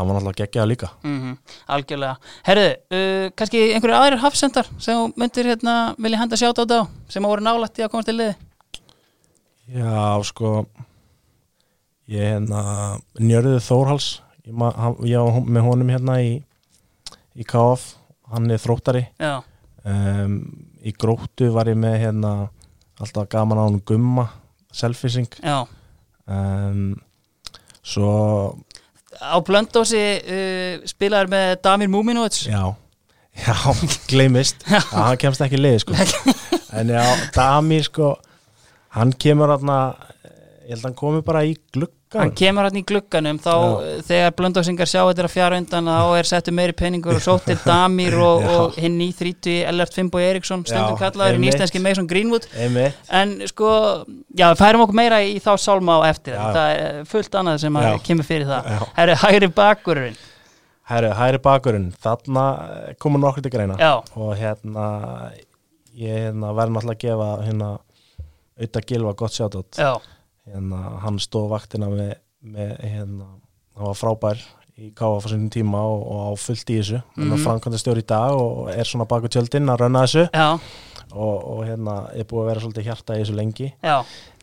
S2: hann var alltaf geggjaðu líka
S1: Mm algjörlega. Herðu, uh, kannski einhverju aðrir hafsendar sem þú myndir hérna, vilja henda sjátt á þá sem voru nálætt í að komast til liði
S2: Já, sko ég hérna Njörður Þórhals ég, ma- hann, ég á hon- með honum hérna í, í KF, hann er þróttari
S1: Já,
S2: um, í gróttu var ég með hérna alltaf gaman á hann gumma selfishing
S1: já.
S2: um, svo
S1: Á Blöndósi uh, spilaður með Damir Múminovits
S2: já, já, gleymist já, hann kemst ekki leið sko en já, Dami sko hann kemur hann ég held að hann komi bara í gluggan
S1: Hann kemur hann í glugganum þá uh, þegar Blöndósingar sjá þetta er að fjara undan þá er settu meiri peningur og sóttir Damir og,
S2: Já.
S1: og hinn í 30 Ellert Fimbo Eriksson stundum
S2: Já,
S1: kallaður í
S2: einmitt.
S1: nýstenski Mason Greenwood
S2: einmitt
S1: En sko, já, færum okkur meira í þá sálma á eftir,
S2: Já.
S1: það er eh, fullt annað sem að
S2: Já.
S1: kemur fyrir það.
S2: Já.
S1: Það eru hægri bakurinn.
S2: Hæri, hæri bakurinn, þarna eh, komur nokkur til greina
S1: Já.
S2: og hérna ég hérna, verður náttúrulega að gefa hérna auðvitað gilva gott sjátt
S1: Já,
S2: hérna, hann stóð vaktina með, með hérna, hann var frábær í káfa fyrir sinni tíma og, og á fullt í þessu hann
S1: Mhm.
S2: er framkvæmda stjóri í dag og er svona baku tjöldin að rönna þessu
S1: já,
S2: og, og hérna er búið að vera svolítið hjarta í þessu lengi
S1: já,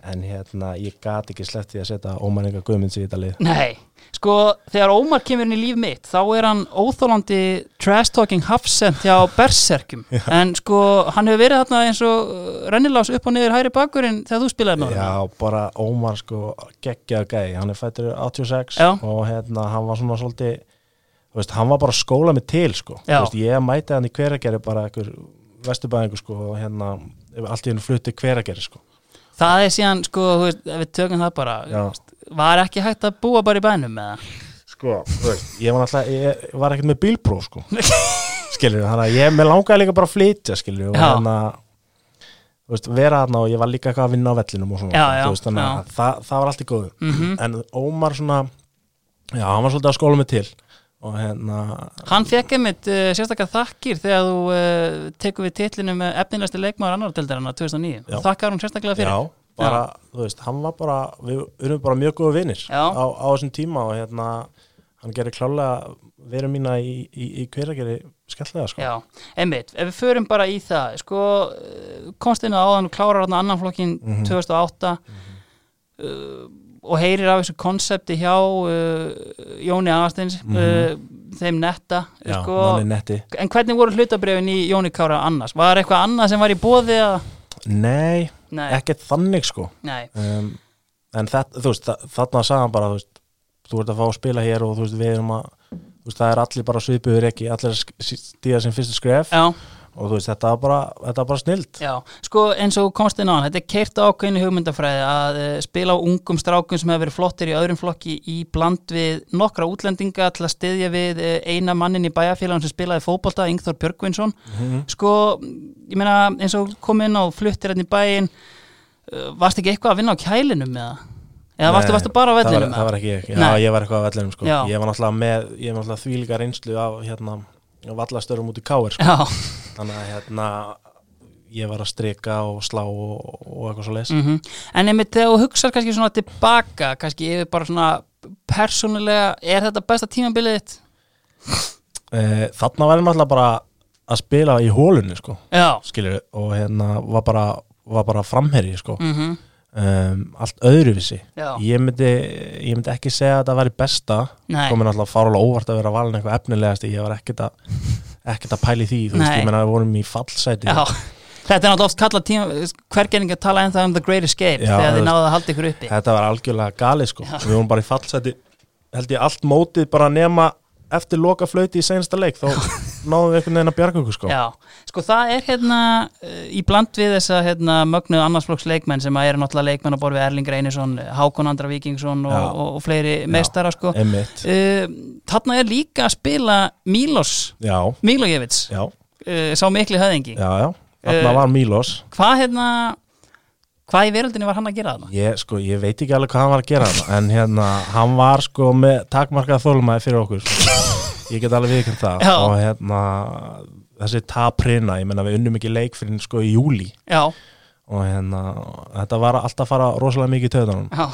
S2: en hérna ég gat ekki slett því að setja ómæninga guðmunds í þetta lið
S1: nei. Sko, þegar Ómar kemur inn í líf mitt, þá er hann óþólandi trash talking hafsend hjá berserkjum. En sko, hann hefur verið þarna eins og uh, rennilás upp og niður hægri bakurinn þegar þú spilaði með honum.
S2: Já, bara Ómar sko geggjaðu gæi, hann er fættur 86
S1: Já.
S2: og hérna, hann var svona svolítið þú veist, hann var bara að skóla mig til sko,
S1: Já.
S2: Þú veist, ég mæti hann í hveragerði bara einhver vesturbæðingu sko og hérna, allt í hennu flutti hveragerði sko
S1: Það er síðan, sko, þú veist, ef við tökum það bara,
S2: Já.
S1: var ekki hægt að búa bara í bænum með það?
S2: sko, þú veist, ég var alltaf ég var ekkert með bílpróf sko skilur, þannig að ég, mér langaði líka bara að flytja skilur, og
S1: Já.
S2: hérna þú veist, vera þarna og ég var líka eitthvað að vinna á vellinum og svona,
S1: Já, já,
S2: þú veist, þannig
S1: já. Mhm.
S2: að það, það var allt í góðu, en Ómar svona já, hann var svolítið að skóla mig til og hérna
S1: Hann fekk einmitt uh, sérstakar þakkir þegar þú uh, tekur við titlinu með efninasti leikmaður annar deildarana 2009
S2: Já.
S1: Þakkar hún sérstaklega fyrir
S2: Já, bara, þú veist, hann var bara við erum bara mjög góðu vinir
S1: Já.
S2: á, á þessum tíma og hérna hann gerir klálega veru mína í, í, í hverageri skellega sko.
S1: Já, einmitt, ef við förum bara í það sko, konstinu áðan klárar hann annan flokkin
S2: Mhm.
S1: 2008 uh, og heyrir af þessu konsepti hjá uh, Jóni Aðarsteins uh, þeim netta
S2: Mhm. Já,
S1: sko,
S2: manni netti
S1: en hvernig voru hlutabrefin í Jóni Kára annars? Var eitthvað annað sem var í bóði að...
S2: Nei,
S1: Nei,
S2: ekkert þannig sko
S1: nei,
S2: um, en þetta, þú veist, þa- þarna sagði hann bara þú veist, þú ert að fá að spila hér og þú veist, við erum að þú veist, það er allir bara svipuður ekki, allir að sk- stíða sem fyrstu skref
S1: já
S2: og þú veist, þetta var bara, þetta var bara snild
S1: Já, sko eins og þú komst inn á hann, þetta er keirt ákveðinu hugmyndafræði að eh, spila á ungum strákum sem hefur verið flottir í öðrum flokki í bland við nokkra útlendinga til að styðja við eh, eina mannin í bæjarfélagum sem spilaði fótbolta, Ingþór Björgvinsson.
S2: Mhm.
S1: Sko, ég meina eins og þú kom inn á fluttir hérna í bæin, eh, varst ekki eitthvað að vinna á kælinum eða? Eða varstu,
S2: Nei,
S1: varstu bara á
S2: það var-
S1: vellinum?
S2: Það var ekki ég, já,
S1: Nei.
S2: ég var eitthvað á vellinum sko.
S1: Já.
S2: Ég var náttúrulega með, ég var náttúrulega þvílíka reynslu af hérna, vallastörum út í káir sko.
S1: Já,
S2: Þannig að hérna ég var að strika og slá og, og eitthvað svo leis
S1: mm en einmitt þegar þú hugsar kannski svona tilbaka, kannski yfir bara svona persónulega, er þetta besta tímabilið þitt?
S2: Eh, Þarna var ég náttúrulega bara að spila í hólunni sko,
S1: Já,
S2: skilur og hérna var bara, var bara framherji sko.
S1: mhm.
S2: um, allt öðruvísi
S1: Já.
S2: ég myndi, ég myndi ekki segja að það væri besta
S1: Nei.
S2: komið náttúrulega fárlega óvart að vera valin eitthvað efnilegast ég var ekkert að ekkert að pæli því, þú veist,
S1: Nei.
S2: ég menna við vorum í fallsæti
S1: Já, þetta er náttúrulega oft kallað tíma hvergerning að tala ennþá um The Great Escape
S2: Já,
S1: þegar
S2: þú
S1: þið
S2: veist.
S1: náðu að halda ykkur uppi
S2: þetta var algjörlega galið sko við vorum bara í fallsæti, held ég allt mótið bara nema eftir loka flöyti í senasta leik, þá náðum við einhvern veginn að bjarga okkur sko
S1: Já, sko það er hérna eh, í bland við þessa hérna, mögnuð annarsflokks leikmenn sem að eru náttúrulega leikmenn að borð við Erling Reynisson, Hákon Andra Víkingsson og,
S2: Já.
S1: og, og fleiri meistara sko uh,
S2: Einmitt.
S1: Þarna er líka að spila Milos
S2: já,
S1: Milojevits,
S2: já,
S1: uh, sá mikli höðingi
S2: já, já þarna
S1: Eh.
S2: var Mílos
S1: Hvað hérna hvað í veröldinni var hann að gera þarna?
S2: ég, sko, ég veit ekki alveg hvað hann var að gera þarna, en hérna, hann var sko með takmarkað þólumæði fyrir okkur sko. ég get alveg viðkjönd það
S1: Já.
S2: og hérna, þessi taprina ég menna við unnum ekki leik fyrir sko í júli
S1: Já,
S2: og hérna, þetta var alltaf að fara rosalega mikið í töðunum
S1: já,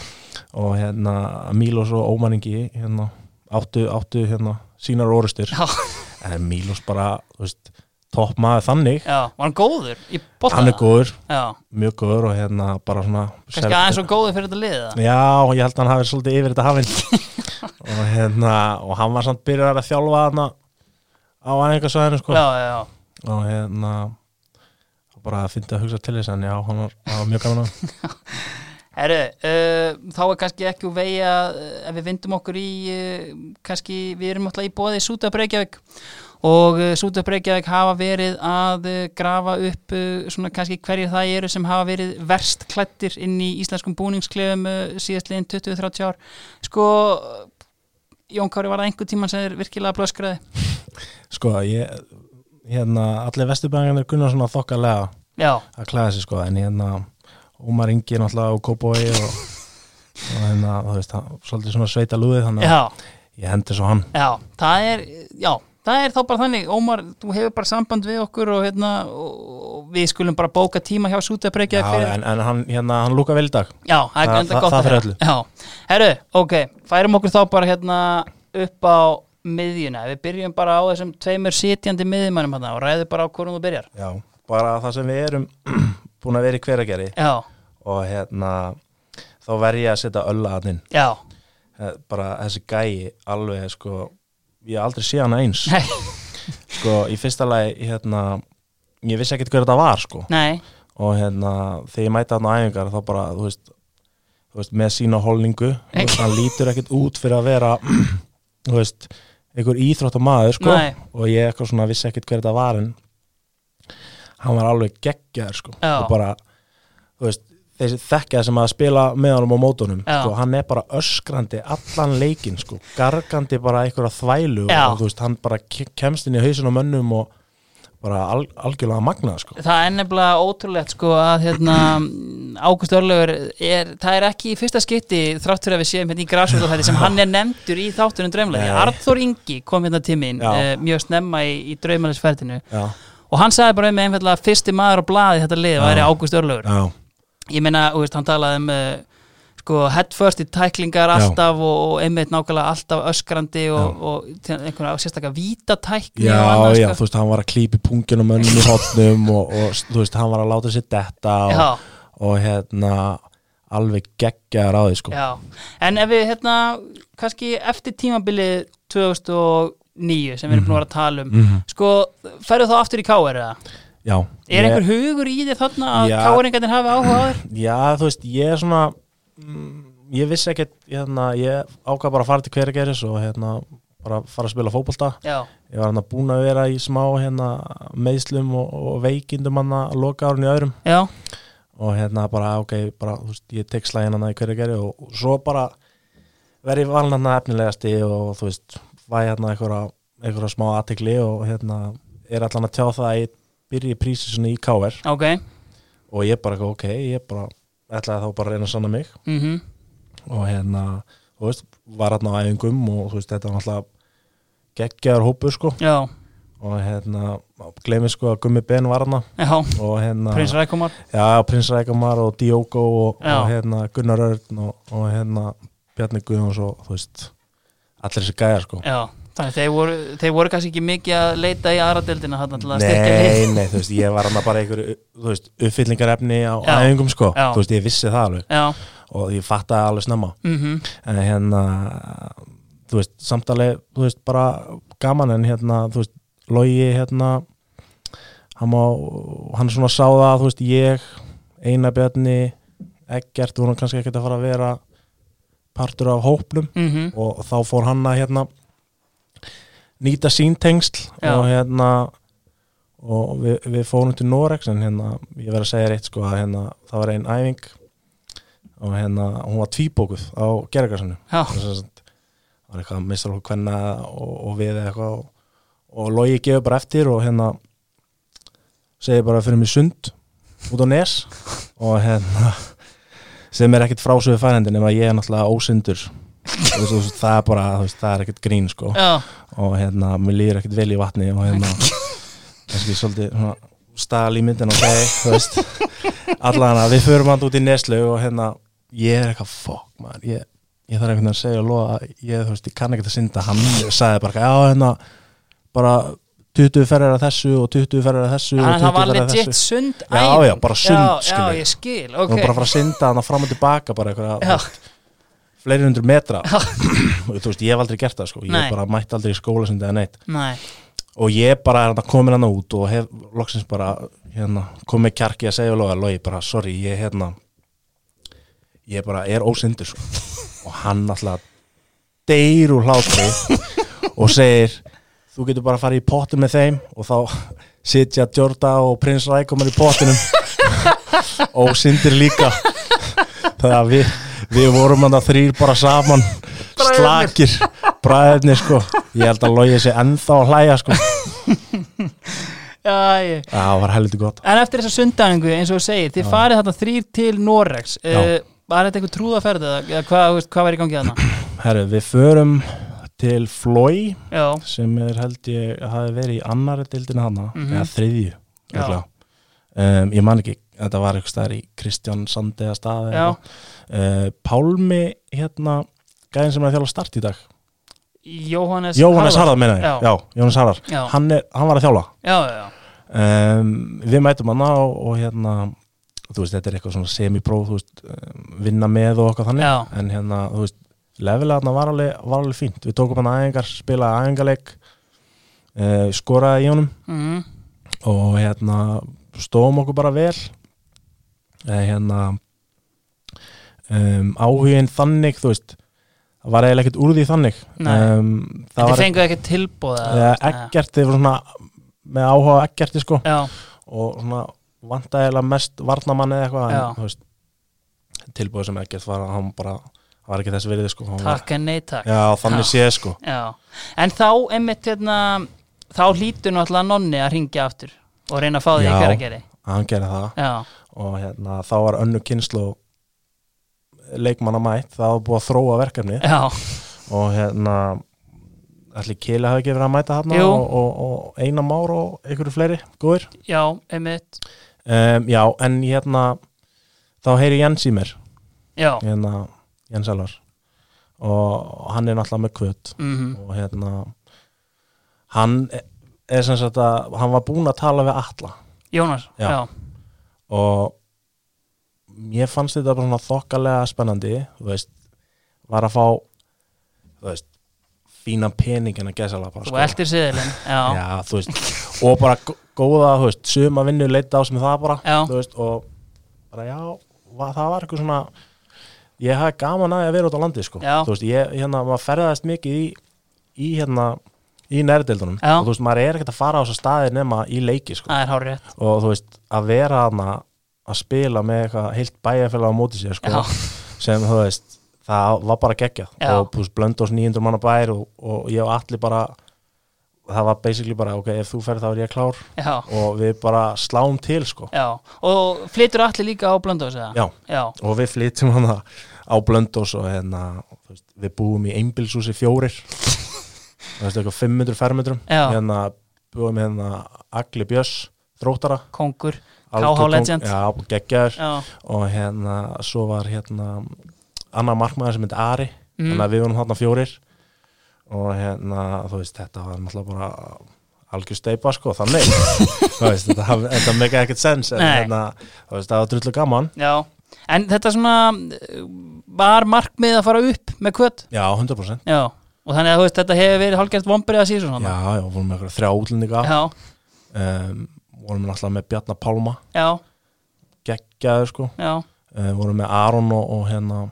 S2: og hérna, Mílos og Ómanningi hérna, áttu, áttu hérna, sínar orustur,
S1: já,
S2: en Mílos bara, þú veist, topp maður þannig
S1: já, var hann góður í bolta?
S2: hann er góður,
S1: Já,
S2: mjög góður og hérna bara svona
S1: kannski aðeins og góður fyrir þetta liða
S2: Já, ég held að hann hafi svolítið yfir þetta hafinn og hérna og hann var samt byrjar að þjálfa hana á æfingasvæðinu sko
S1: Já, já, já
S2: og hérna bara að finna að hugsa til þess en já, hann var, hann var mjög gaman að
S1: Herru, uh, þá er kannski ekki úr vegi að uh, ef við vindum okkur í, uh, kannski við erum alltaf í bóði Sútaf Reykjavík og uh, Sútaf Reykjavík hafa verið að uh, grafa upp uh, svona kannski hverjir það eru sem hafa verið verst klættir inn í íslenskum búningsklefum uh, síðastliðin 20-30 ár. Sko, Jón Kári var það einhver tíman sem er virkilega blöskraði.
S2: sko, ég, hérna allir vesturbæðingarnir kunna svona þokkalega
S1: Já,
S2: að klæða sig sko, en hérna Ómar Ingi er náttúrulega á Kópói og, og hérna, þú veist, hann, svolítið svona sveita lúðið þannig að
S1: já.
S2: ég hendi svo hann
S1: Já, það er, já, það er þá bara þannig, Ómar, þú hefur bara samband við okkur og hérna, og, og við skulum bara bóka tíma hjá
S2: já,
S1: Sútabreykja fyrir.
S2: en, en hann, hérna, hann lúka vel í dag
S1: Já, það er
S2: Það-
S1: enda
S2: það-
S1: gott
S2: það
S1: að
S2: fyrir
S1: heyra. Já, herru, ok, færum okkur þá bara hérna upp á miðjuna, við byrjum bara á þessum tveimur sitjandi miðjumannum hérna og ræðum bara á hvorum þú byrjar.
S2: Já, bara það sem við erum búin að vera í hverageri
S1: Já,
S2: og hérna þá verð ég að setja ölla að inn Eh,
S1: já,
S2: bara þessi gæi alveg sko ég hef aldrei séð hana eins
S1: nei,
S2: sko í fyrsta lagi hérna ég vissi ekkert hver þetta var sko
S1: nei,
S2: og hérna þegar ég mæti hann á æfingar þá bara þú veist, þú veist með sína holningu þú veist, hann lítur ekkert út fyrir að vera þú veist einhver íþrótt maður sko
S1: Nei.
S2: og ég eitthvað svona vissi ekkert hver þetta var en hann var alveg geggjaður sko
S1: Já.
S2: og bara þú veist þessi þekkja sem að spila með honum á mótunum
S1: Já.
S2: sko, hann er bara öskrandi allan leikinn sko, gargandi bara einhverja þvælu
S1: Já.
S2: og þú veist, hann bara ke- kemst inn í hausin á mönnum og bara al, algjörlega magnað sko.
S1: Það er nefnilega ótrúlegt sko að hérna, Ágúst Örlaugur er, það er ekki í fyrsta skipti þrátt fyrir að við séum hérna í græsvöldafætti sem hann er nefndur í þáttunum draumlega.
S2: Nei.
S1: Arþór Ingi kom hérna til mín
S2: Já.
S1: uh, mjög snemma í, í draumalisferðinu
S2: já,
S1: og hann sagði bara um einfallega að fyrsti maður á blaði í þetta lið væri Ágúst Örlaugur.
S2: já,
S1: Ég meina, þú veist, hann talaði um uh, sko headfirst í tæklingar
S2: Já.
S1: alltaf og, og einmitt nákvæmlega alltaf öskrandi og, og, og einhverja sérstaklega vítatækni
S2: já,
S1: og annað,
S2: já
S1: sko.
S2: þú veist, hann var að klípi pungjunum önnum í hotnum og, og þú veist, hann var að láta sér detta og,
S1: Já.
S2: og hérna alveg geggjaðar á því sko.
S1: Já, en ef við hérna kannski eftir tímabilið 2009 sem við erum búin að vera að tala um
S2: Mhm.
S1: sko, ferðu þá aftur í KR eða?
S2: já,
S1: Er
S2: ég-
S1: einhver hugur í þér þarna að
S2: Já.
S1: KR-ingarnir hafi áhuga á þér?
S2: Já, þú veist, ég er svona mm, ég vissi ekkert hérna, ég ákvað bara að fara til hverageris og hérna, bara fara að spila fótbolta
S1: Já,
S2: ég var hérna búin að vera í smá hérna, meðslum og, og veikindum hann að loka árun í öðrum
S1: já,
S2: og hérna bara, ok, bara, þú veist, ég tek slæðin hann í hverjageri og, og svo bara verið valin hann efnilegasti og þú veist, væði hérna einhverja, einhverja smá aðtikli og hérna er allan að tjá það að ég byrja í prísi svona í KR
S1: ok
S2: og ég bara, ok, ég bara ætlaði þá bara að reyna að sanna mig
S1: mm
S2: og hérna, þú veist, var hérna á æfingum og þú veist, þetta var alltaf geggjaður hópur, sko
S1: Já,
S2: og hérna, glemir sko að Gummi Ben var hérna
S1: já,
S2: og hérna
S1: prins Rækumar
S2: Já, Prins Rækamar og Diogo og,
S1: Já.
S2: og hérna Gunnar Örn og, og hérna Bjarni Guðjóns og þú veist allir þessi gæjar sko
S1: Já, þannig að þeir voru, þeir voru kannski ekki mikið að leita í aðra deildina þarna til að styrkja
S2: Nei,
S1: lið
S2: nei, þú veist, ég var hann bara einhver þú veist, uppfyllingarefni á
S1: Já.
S2: æfingum sko,
S1: Já.
S2: þú veist, ég vissi það alveg
S1: Já,
S2: og ég fattaði alveg snemma
S1: mhm
S2: en hérna, þú veist, samtalið þú veist, bara gaman en hérna, þú veist, logi hérna hann, má, hann svona sá það, þú veist, ég Einar Bjarni, Eggert voru kannski ekkert að fara að vera partur af hópnum
S1: Mm
S2: og þá fór hann að hérna nýta sín tengsl
S1: Já.
S2: og hérna og við, við fórum til Norex en hérna, ég verð að segja reitt sko að hérna það var einn æfing og hérna, hún var tvíbókuð á gerðarkarsanum
S1: Já,
S2: það var eitthvað mistalokk hvenna og, og við eða eitthvað og, og logi gefur bara eftir og hérna segir bara að fyrir mig sund út á nes og hérna sem er ekkert frásöðu færendin ef að ég er náttúrulega ósyndur Þú veist, þú veist, það er bara, þú veist, það er ekkert grín sko
S1: já,
S2: og hérna, mér líður ekkert vel í vatni og hérna kannski svolítið svona, stal í myndin og segi, þú veist allan að við förum hann út í neslaug og hérna, ég er eitthvað fuck maður, ég, ég þarf einhvern veginn að segja og lofa að ég, þú veist, ég kann ekkert að synda hann sagði bara, já, hérna bara 20 ferðar að þessu og 20 ferðar að þessu og
S1: þannig að
S2: 20
S1: það var
S2: ferðar að
S1: legit
S2: þessu
S1: sund
S2: Já,
S1: æfing.
S2: já, bara sund,
S1: Já, já,
S2: skilur.
S1: ég skil,
S2: og
S1: ok
S2: bara að fara að synda hann fram og tilbaka bara eitthvað,
S1: Já.
S2: fleiri hundru metra og þú veist, ég hef aldrei gert það sko, ég
S1: Nei.
S2: bara mætti aldrei í skóla sem þetta neitt
S1: Nei,
S2: og ég bara er hann komin hann út og hef loksins bara hérna, komið kjarki að segja loga logi bara sorry ég hérna ég bara er ósindur sko. og hann alltaf deyr úr hlátri og segir þú getur bara að fara í pottu með þeim og þá sitja Jorda og Prins Rækomar í pottinum og sindir líka það að við við vorum hann að þrýr bara saman slakir, bræðinir sko ég held að logi sig ennþá að hlæja sko
S1: já, ég
S2: Já, það var helviti gott
S1: En eftir þessa sundæfingu, eins og þú segir, þið farið þarna þrýr til Norex uh, Var þetta eitthvað trúðaferð eða eða hvað, þú veist, hvað var í gangi þarna?
S2: Herru, við förum til Flói
S1: Já,
S2: sem er held ég að hafi verið í annari dildinu hana
S1: Mhm.
S2: eða þriðju
S1: Já.
S2: örugglega. um, ég man ekki, þetta var eitthvað staðar í Kristján Sandi eða staði
S1: já,
S2: uh, Pálmi hérna gæðin sem er að þjála start í dag
S1: Jóhannes
S2: Jóhannes Harðar meina ég,
S1: Já.
S2: já. Jóhannes Harðar
S1: Já.
S2: hann, er, hann var að þjála
S1: Já, já, já,
S2: um, við mætum hana og, og hérna þú veist, þetta er eitthvað svona semipróf þú veist, um, vinna með og okkar þannig
S1: Já.
S2: en hérna, þú veist, lefilega þarna var alveg, var alveg fínt, við tókum hann aðingar spilaði aðingarleik uh, skoraði í honum
S1: mhm,
S2: og hérna stóðum okkur bara vel eða hérna um, áhugin þannig, þú veist það var eiginlega ekkert úr því þannig
S1: Nei.
S2: um,
S1: en
S2: það
S1: þið
S2: var
S1: fenguð ekkert tilbúð
S2: eða ekkert, þið voru svona með áhuga á ekkerti sko
S1: Já,
S2: og svona vantægilega mest varnamann eða eitthvað
S1: Já.
S2: en, þú veist, tilbúið sem ekkert var að hann bara hann var ekki þess virði sko hann var,
S1: takk en nei takk
S2: já þannig
S1: Já.
S2: séð sko
S1: Já, en þá einmitt hérna þá hlýtur náttúrulega nonni að ringja aftur og reyna að fá því
S2: Já.
S1: í hverjargeri
S2: hann gerði það
S1: já,
S2: og hérna, þá var önnu kynslu leikmanna mætt það var búið að þróa verkefni
S1: já,
S2: og hérna allir Kili hafi ekki verið að mæta hann
S1: Jú.
S2: og, og, og Einar Már og einhverju fleiri góðir
S1: já, einmitt
S2: um, já, en hérna þá heyri Jens í mér
S1: já,
S2: hérna, Jens Elvar og hann er náttúrulega með kvöt
S1: mhm,
S2: og hérna hann e- er sem sagt að hann var búinn að tala við alla
S1: Jónas
S2: Já.
S1: já,
S2: og ég fannst þetta bara svona þokkalega spennandi þú veist, var að fá þú veist fínan pening en að gesa lappa
S1: og eldir siðilinn já, já,
S2: Já, þú veist, og bara gó- góða, þú veist, suma vinnu leita á sem það bara,
S1: Já.
S2: þú veist, og bara já, var, það var eitthvað svona ég hafði gaman að því að vera út á landi, sko
S1: Já.
S2: þú veist, ég, hérna, maður ferðaðist mikið í, í hérna, í nærdeildunum
S1: Já.
S2: og þú veist, maður er ekkert að fara á þessa staði nema í leiki, sko,
S1: það er hár rétt
S2: og þú veist, að vera hana að spila með eitthvað heilt bæjarfélag á móti sér, sko,
S1: Já.
S2: sem, þú veist það var bara geggjað
S1: Já.
S2: og pluss blöndos 900 manna bæir og, og ég og allir bara það var basically bara, ok, ef þú ferð þá er ég klár
S1: já,
S2: og við bara sláum til, sko
S1: já, og flytur allir líka á blöndós eða?
S2: Já.
S1: já,
S2: og við flytjum hana á blöndos og hérna, þú veist, við búum í einbilshúsi fjórir þú veist, eitthvað 500 fermetrum
S1: Já.
S2: hérna, búum hérna Agli Björs, þróttara
S1: kongur
S2: algjör
S1: KH
S2: kóng-
S1: legend.
S2: Já, geggjaður
S1: já,
S2: og hérna, svo var hérna annar markmaður sem heitir Ari
S1: Mm.
S2: þannig að við vorum þarna fjórir og hérna, þú veist, þetta var náttúrulega bara algjör steipa sko, þannig þú veist, þetta, haf- þetta mega ekkert sens en
S1: Nei.
S2: hérna, þú veist, það var drullu gaman
S1: já en þetta svona eh, var markmið að fara upp með kvöt
S2: já, 100%
S1: já, og þannig að þú veist þetta hefur verið hálfgert vombrið að síðan
S2: já, já, vorum með eitthvað þrjá útlendinga
S1: já,
S2: um, vorum náttúrulega með Bjarnar Pálma
S1: já,
S2: geggjaður sko,
S1: já,
S2: uh, vorum með Aron og, og hérna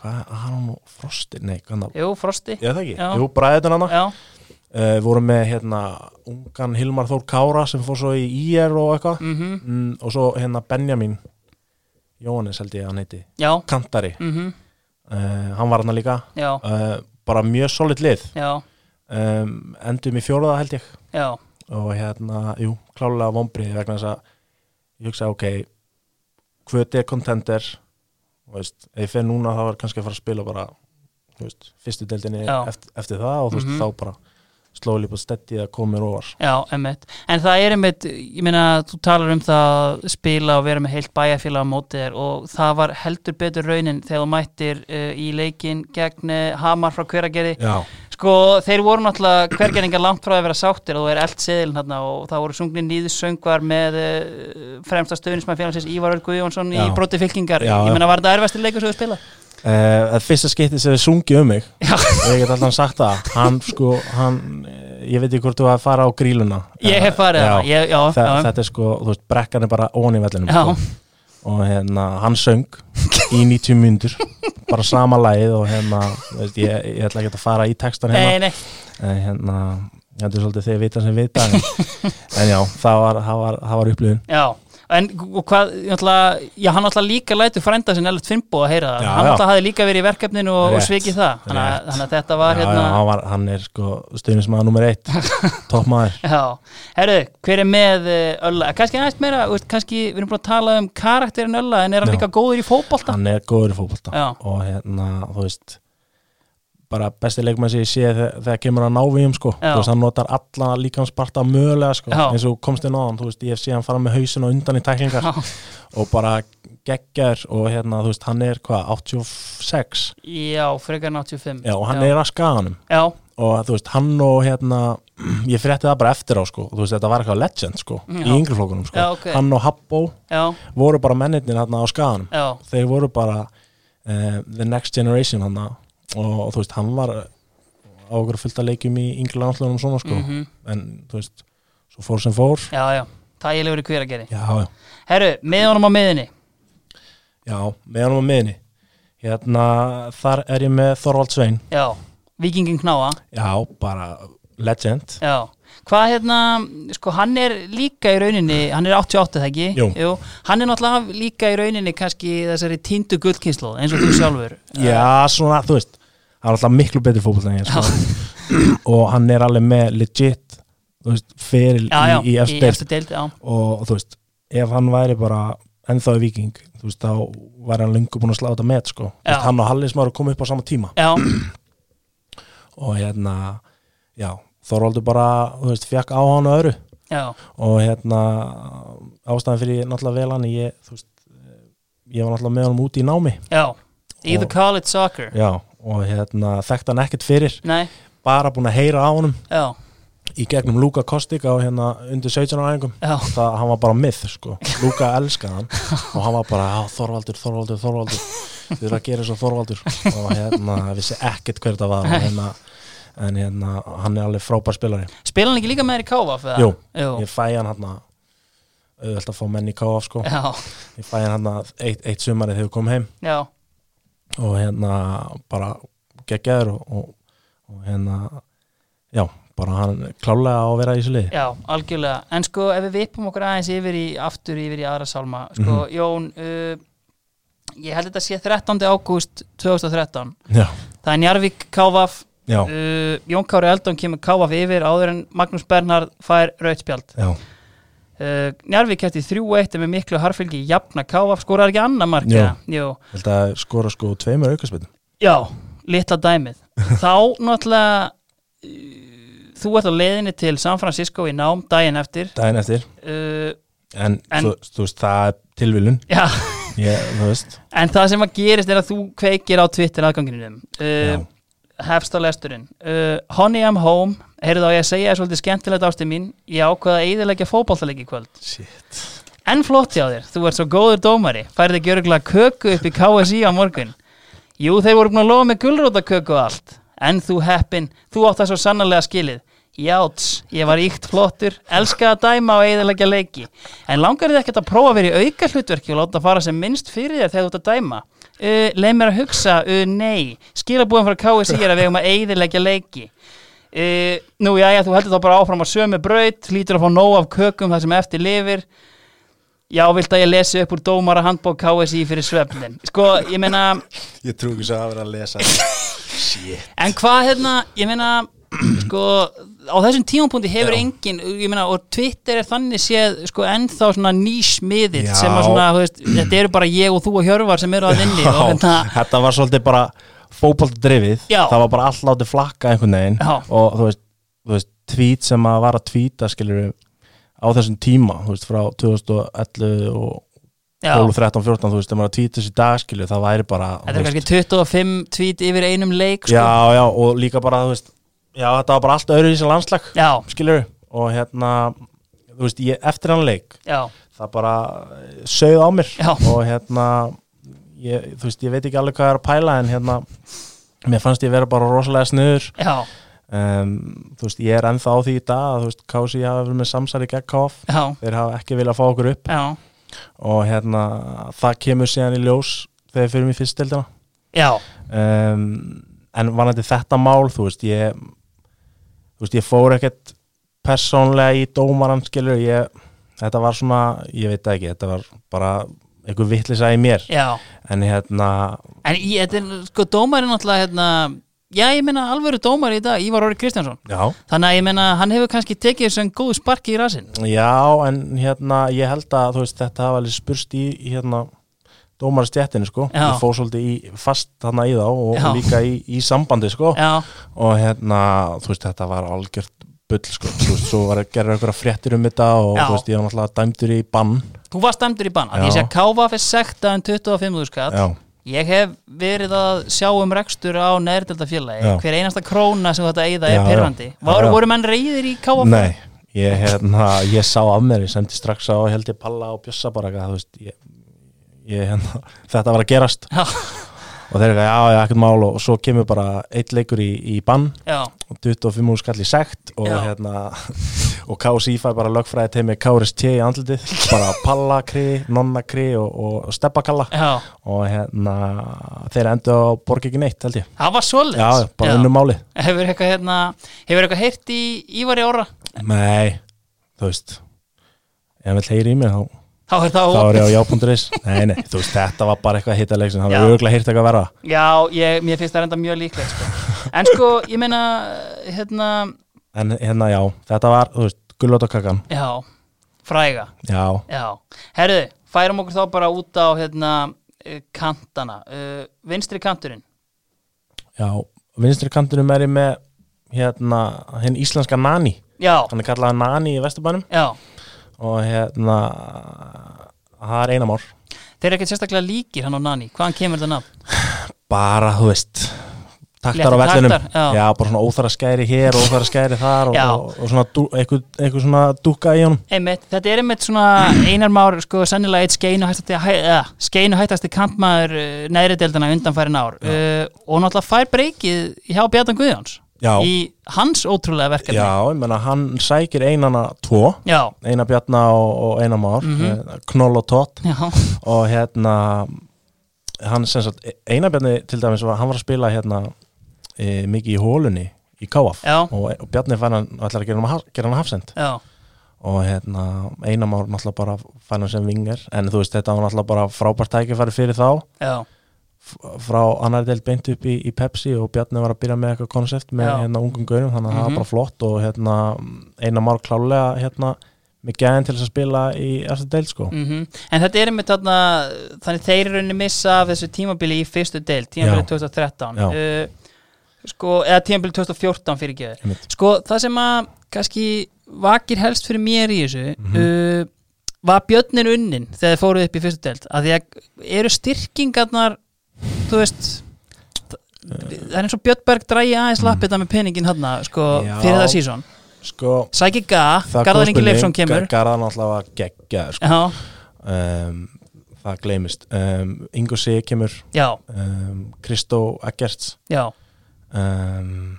S2: hvað er Aron og Frosti, nei, hvað er það
S1: jú, Frosti
S2: Já, það ekki,
S1: Já.
S2: jú, bræðin hana
S1: já,
S2: uh, vorum með hérna ungan Hilmar Þór Kára sem fór svo í IR og eitthvað
S1: mhm
S2: mm, og svo hérna Benjamin Jóhannes held ég að hann heiti
S1: já,
S2: Kantari,
S1: mhm
S2: uh, hann var hann líka
S1: já,
S2: uh, bara mjög solid lið
S1: já,
S2: um, endum í fjóraða held ég
S1: já,
S2: og hérna, jú, klálega vombrið vegna þess að ég hugsa ok hvöti er contender og veist, ef ég fer núna þá er kannski að fara að spila bara þú veist, fyrstu deildinni
S1: Já.
S2: eftir, eftir það og þú veist,
S1: Mhm.
S2: þá bara slóli bara stetti að koma mér ofar
S1: já, emmitt en það er einmitt, ég meina þú talar um það að spila og vera með heilt bæjarfélag á móti þér og það var heldur betur raunin þegar þú mættir uh, í leikin gegn uh, Hamar frá hveragerði
S2: Já,
S1: sko, þeir voru náttúrulega hvergeringar langt frá að vera sáttir og þú er eld seðilin þarna og það voru sungni nýðsöngvar með uh, fremsta stöðnismæð félagsins Ívar Örg Guðjónsson í
S2: Já.
S1: broti fylkingar
S2: Já,
S1: ég
S2: já.
S1: meina var þetta erfastir leikur sem þú spila
S2: Uh, fyrsta skipti sem þið sungi um mig
S1: Já.
S2: ég get alltaf sagt það hann sko, hann, eh, ég veit ekki hvort þú að fara á gríluna
S1: ég hef farið
S2: Já.
S1: þarna, ég- já,
S2: Þa,
S1: já,
S2: þetta er sko, þú veist, brekkan er bara ón í vellinum
S1: Já.
S2: sko. og hérna, hann söng í 90 myndur bara sama lagið og hérna þú veist, ég, ég ætla ekki að fara í textan hérna
S1: nei, nei,
S2: en hérna, þetta er svolítið þegar vita sem vita en, en já, það var, það var, það var upplifun
S1: Já, en og hvað, náttúrulega, já, hann náttúrulega líka lætur frænda sinni Ellert Finnbó að heyra það, hann
S2: Já, já.
S1: náttúrulega hafði líka verið í verkefninu og, og
S2: Rétt,
S1: svikið það, þannig að,
S2: rétt.
S1: þannig að þetta var
S2: já,
S1: hérna,
S2: já, hann, var, hann er sko stuðnismæða nummer eitt toppmaður
S1: já, herru, hver er með eh, Ölla, kannski næst meira, þú veist, kannski við erum búin að tala um karakterin Ölla, en er hann
S2: Já.
S1: líka góður í fótbolta?
S2: hann er góður í fótbolta
S1: Já.
S2: og hérna, þú veist bara besti leikmann sem ég sé þegar, þegar kemur að návíum sko,
S1: Já.
S2: þú veist, hann notar alla líkansparta mögulega sko,
S1: Já.
S2: eins og komst inn á hann, þú veist, ég sé hann fara með hausin og undan í tæklingar
S1: Já,
S2: og bara geggjær og hérna, þú veist, hann er hvað, 86
S1: já, frekar en 85.
S2: Já, og hann er að skaganum
S1: Já,
S2: og þú veist, hann og hérna ég frétti það bara eftir á sko, þú veist, þetta var eitthvað legend sko,
S1: Já.
S2: í yngri flokkunum sko
S1: Já, ok.
S2: hann og Habbo
S1: já,
S2: voru bara mennirnir hérna á skaganum
S1: já,
S2: þeir voru bara uh, the next generation hann og þú veist, hann var á okkur fullt að leikjum í yngri landslunum svona sko,
S1: mhm,
S2: en þú veist svo fór sem fór
S1: já, já, það ég lefur í hver að gera.
S2: já, já,
S1: Herru, með honum á miðinni,
S2: já, með hann á miðinni hérna, þar er ég með Þorvald Svein
S1: já, vikingin knáa.
S2: já, bara legend
S1: Já, hvað hérna, sko hann er líka í rauninni, hann er 88 það ekki?
S2: Jú.
S1: Hann er náttúrulega líka í rauninni kannski í þessari tindu gullkynslu eins og þú sjálfur.
S2: já, svona, þú veist hann er alltaf miklu betri fótboll en ég sko. og hann er alveg með legit þú veist, feril
S1: já, já,
S2: í, í efstu deild
S1: efstu deild já.
S2: og þú veist, ef hann væri bara ennþá í viking, þú veist, þá væri hann lengur búin að slá þetta með, sko Þú veist,
S1: Já.
S2: hann og Hallis maður komið upp á sama tíma
S1: já,
S2: og hérna, já Þorvaldur bara, þú veist, fekk á hann og öðru
S1: já,
S2: og hérna ástæðan fyrir ég náttúrulega vel hann ég, þú veist, eh, ég var náttúrulega með hann úti í námi
S1: já either
S2: Og-
S1: college soccer
S2: já, og hérna, þekkt hann ekkert fyrir
S1: nei,
S2: bara búin að heyra á honum
S1: já,
S2: í gegnum Luka Kostik á hérna undir 17 ára æfingum
S1: já,
S2: það, hann var bara myth sko Luka elskaði hann og hann var bara "Já, Þorvaldur, Þorvaldur, Þorvaldur þið eru að gera svo Þorvaldur og hérna vissi ekkert hver það var og, hérna, en hérna hann er alveg frábær spilari
S1: spila hann ekki líka með þér í KVF eða?
S2: Jú.
S1: Jú.
S2: ég fæ hann hérna auðvitað að fá menn í KF sko
S1: já,
S2: ég fæ hann hérna eitt, eitt sumari þegar við komum heim
S1: já,
S2: og hérna bara geggjaður og, og, og hérna já, bara hann klálega á að vera í þessu liði
S1: já, algjörlega en sko ef við vippum okkur aðeins yfir í aftur yfir í aðra salma, sko
S2: Mhm.
S1: Jón uh, ég held þetta sé 13. ágúst 2013
S2: já,
S1: það er Njarvík KVF
S2: já,
S1: uh, Jón Kári Eldon kemur KVF yfir áður en Magnús Bernhard fær rautspjald
S2: já,
S1: uh, Njarvík kæfti 3-1 en með miklu harfylgi jafna KVF skorar ekki annað marka Jú.
S2: held að skora sko tveimur aukarspenn
S1: já, litla dæmið þá náttúrulega uh, þú ert á leiðinni til San Francisco í nám daginn eftir
S2: daginn eftir
S1: uh,
S2: en,
S1: En-
S2: þú, þú veist, það er tilvilun
S1: já,
S2: ég, þú veist,
S1: en það sem að gerist er að þú kveikir á Twitter aðganginum uh,
S2: Já.
S1: hefst á lesturinn uh, Honey I'm Home, heyrðu á ég að segja er svolítið skemmtilegt ástu mín, ég ákvaða að eðilegja fótballtaleik í kvöld
S2: shit
S1: En flott hjá þér, þú ert svo góður dómari Færði ekki öruglega köku upp í KSI á morgun Jú, þeir voru búin að lofa með gulrótaköku og allt En þú heppin, þú átt það svo sannarlega skilið Játs, ég var íkt flottur Elska að dæma og eðalegja leiki En langar þið ekkert að prófa að vera í auka hlutverki Og láta fara sem minnst fyrir þér þegar þú ert að dæma uh, Leif mér að hugsa, uh, nei Skilabúin frá KSI er að við um að eðalegja leiki uh, Nú, já, þú heldur þá bara áfram á sömu braut Lítur að fá nóg af kökum það sem eftir lifir Já, vilt að ég lesi upp úr dómara handbók KSI fyrir svefnin Sko, ég meina,
S2: ég trú ekki svo að vera að lesa shit,
S1: en hvað hérna, ég meina Sko, á þessum tímapunkti hefur
S2: Já.
S1: engin Ég meina, og Twitter er þannig séð Sko, ennþá svona nýsmiðill
S2: Já.
S1: Sem að svona, þú veist, þetta eru bara ég og þú og Hjörvar Sem eru að vinni og hérna
S2: þetta var svolítið bara fótboltadrifið,
S1: Já.
S2: það var bara allt látið flakka einhvern veginn
S1: Já.
S2: og þú veist, þú veist, tweet sem að var að tweeta skilur á þessum tíma, þú veist, frá 2011 og
S1: Já,
S2: 12, 13, 14, þú veist, þegar maður að tweeta þessi dag skilur, það væri bara þú
S1: þetta er
S2: veist,
S1: kannski 25 tweet yfir einum leik sko.
S2: já, já, og líka bara, þú veist já, þetta var bara allt öðru í þessi landslag
S1: já,
S2: skilur og hérna þú veist, ég, eftir hann leik
S1: já,
S2: það bara sögð á mér
S1: Já.
S2: og hérna ég, þú veist, ég veit ekki alveg hvað ég er að pæla en hérna, mér fannst ég vera bara rosalega sniður
S1: já,
S2: um, þú veist, ég er ennþá á því í dag að þú veist, KC hafa verið með samsæri gegn KF
S1: já,
S2: þeir hafa ekki viljað fá okkur upp
S1: já,
S2: og hérna, það kemur síðan í ljós þegar fyrir mér fyrst deildina
S1: já,
S2: um, en vanandi þetta mál þú veist ég þú veist ég fór ekkert persónlega í dómaran skilur ég, þetta var svona, ég veit það ekki þetta var bara einhver vitlisa í mér
S1: já
S2: en hérna,
S1: En ég, þetta er, sko, dómari náttúrulega hérna, Já, ég meina alvöru dómari í dag Ívar Orri Kristjánsson
S2: já
S1: Þannig að ég meina, hann hefur kannski tekið þessu en góð sparki í rasinn
S2: já, en hérna ég held að þú veist þetta hafa alveg spurst í í, hérna dómarastjættinu sko
S1: Já.
S2: ég fór svolítið í, fast þarna í þá og
S1: Já.
S2: líka í, í sambandi sko
S1: Já,
S2: og hérna, þú veist, þetta var algjört bull, sko, þú veist, svo var að gera einhverja fréttir um þetta og
S1: Já.
S2: þú veist, ég var náttúrulega dæmdur í bann
S1: þú varst dæmdur í bann Af því Ég
S2: Já.
S1: sé að káfa fyrir sekta en 25 skatt
S2: Já,
S1: Ég hef verið að sjá um rekstur á
S2: Já.
S1: neðrdeldafélagi Hver einasta króna sem þetta eigða
S2: Já,
S1: er
S2: já.
S1: pyrrandi
S2: Já,
S1: Var,
S2: já.
S1: Voru menn reyðir í káfa?
S2: nei, ég hérna ég sá af mér, ég sendi strax á held ég Palla og Bjössa bara, eitthvað, þú veist ég, ég hérna, þetta var að gerast
S1: Já,
S2: og þeir eru eitthvað, já, já, ekkert mál og, og svo kemur bara eitt leikur í, í bann
S1: já,
S2: og 25 úr skall í sekt og
S1: Já.
S2: hérna og KSI fær bara lögfræði teimi KRST í andlitið, bara Palla kri, Nonna kri og, og Steppa kalla
S1: já
S2: og hérna þeir endur á borg ekki neitt held ég
S1: Það var svoleiðs
S2: já, bara unnum máli
S1: Hefur eitthvað, hérna, hefur eitthvað heyrt í Ívari Orra?
S2: nei, þú veist ef hann heyri í mér þá,
S1: Þá er það
S2: þá er
S1: opið
S2: ég á já.is nei, nei, þú veist, þetta var bara eitthvað hittaleg sem hann
S1: Já.
S2: var auðvitað heyrt eitthvað verra
S1: Já, ég, mér finnst það enda mjög líklegt sko. en sko, ég meina hérna,
S2: en hérna já, þetta var, þú veist, gullotakakkan
S1: já fræga,
S2: já,
S1: já herðu, færum okkur þá bara út á hérna, eh, kantana uh, vinstri kanturinn
S2: já, vinstri kantinum er ég með hérna, hinn íslenska nani
S1: já,
S2: hann er kallaði nani í Vesturbænum
S1: já,
S2: og hérna það er einamár
S1: þeir eru ekkert sérstaklega líkir hann og Nani, hvaðan kemur þetta nafn?
S2: bara, þú veist taktar
S1: Léttir
S2: á vellinum
S1: taktar, já.
S2: bara svona óþara skæri hér og óþara skæri þar og,
S1: Já.
S2: og, og svona dú, eitthvað, eitthvað svona dúka í honum
S1: Einmitt, þetta er einmitt svona einar már sko sennilega eitt skeinu hættasti, hæ, eh, skeinu hættasti kantmaður uh, neðri deildina undanfærin ár uh, og náttúrulega fær breykið hjá Bjartan Guðjóns
S2: já,
S1: í hans ótrúlega
S2: já,
S1: verkefni
S2: ég meina hann sækir einana tvo
S1: já,
S2: eina bjarna og, og eina már
S1: Mhm.
S2: mm knoll og tótt
S1: já,
S2: og hérna hann sem sagt, e, eina bjarni til dæmis var, hann var að spila hérna e, mikið í hólunni í Káaf
S1: Já.
S2: og, og bjarni fær hann, ætlar að gera hann, haf- gera hann hafsend
S1: já,
S2: og hérna, eina már náttúrulega bara fær hann sem vingar, en þú veist þetta var náttúrulega bara frábært tækifæri fyrir þá
S1: já,
S2: f- frá annar del beint upp í, í Pepsi og Bjarni var að byrja með eitthvað konsept með
S1: Já.
S2: hérna ungum gaurum þannig að það
S1: Mhm.
S2: var bara flott og hérna eina mál klálega hérna með gæðin til þess að spila í eftir del sko
S1: mhm en þetta er einmitt þarna þannig þeir eru henni missa af þessu tímabili í fyrstu deild, tímabili
S2: Já.
S1: 2013
S2: Já.
S1: uh, sko, eða tímabili 2014 fyrir geðu
S2: Einmitt.
S1: Sko, það sem að kannski vakir helst fyrir mér í þessu
S2: Mhm.
S1: uh, var björnin unnin þegar þið fóruð upp í fyrstu delt að því að eru styrkingarnar þú veist það það er eins og Björnberg drægi aðeins lappið það með peningin hann sko,
S2: Mhm. Já.
S1: fyrir það sísón
S2: sko
S1: Sæki Ga,
S2: það er góð
S1: Garðar Ingi
S2: spurning.
S1: Leifsson kemur
S2: Gar- Garðar náttúrulega var geggjaður sko.
S1: Já,
S2: um, það gleymist um, Ingo Sig kemur
S1: já,
S2: um, Kristó Eggerts
S1: já,
S2: um,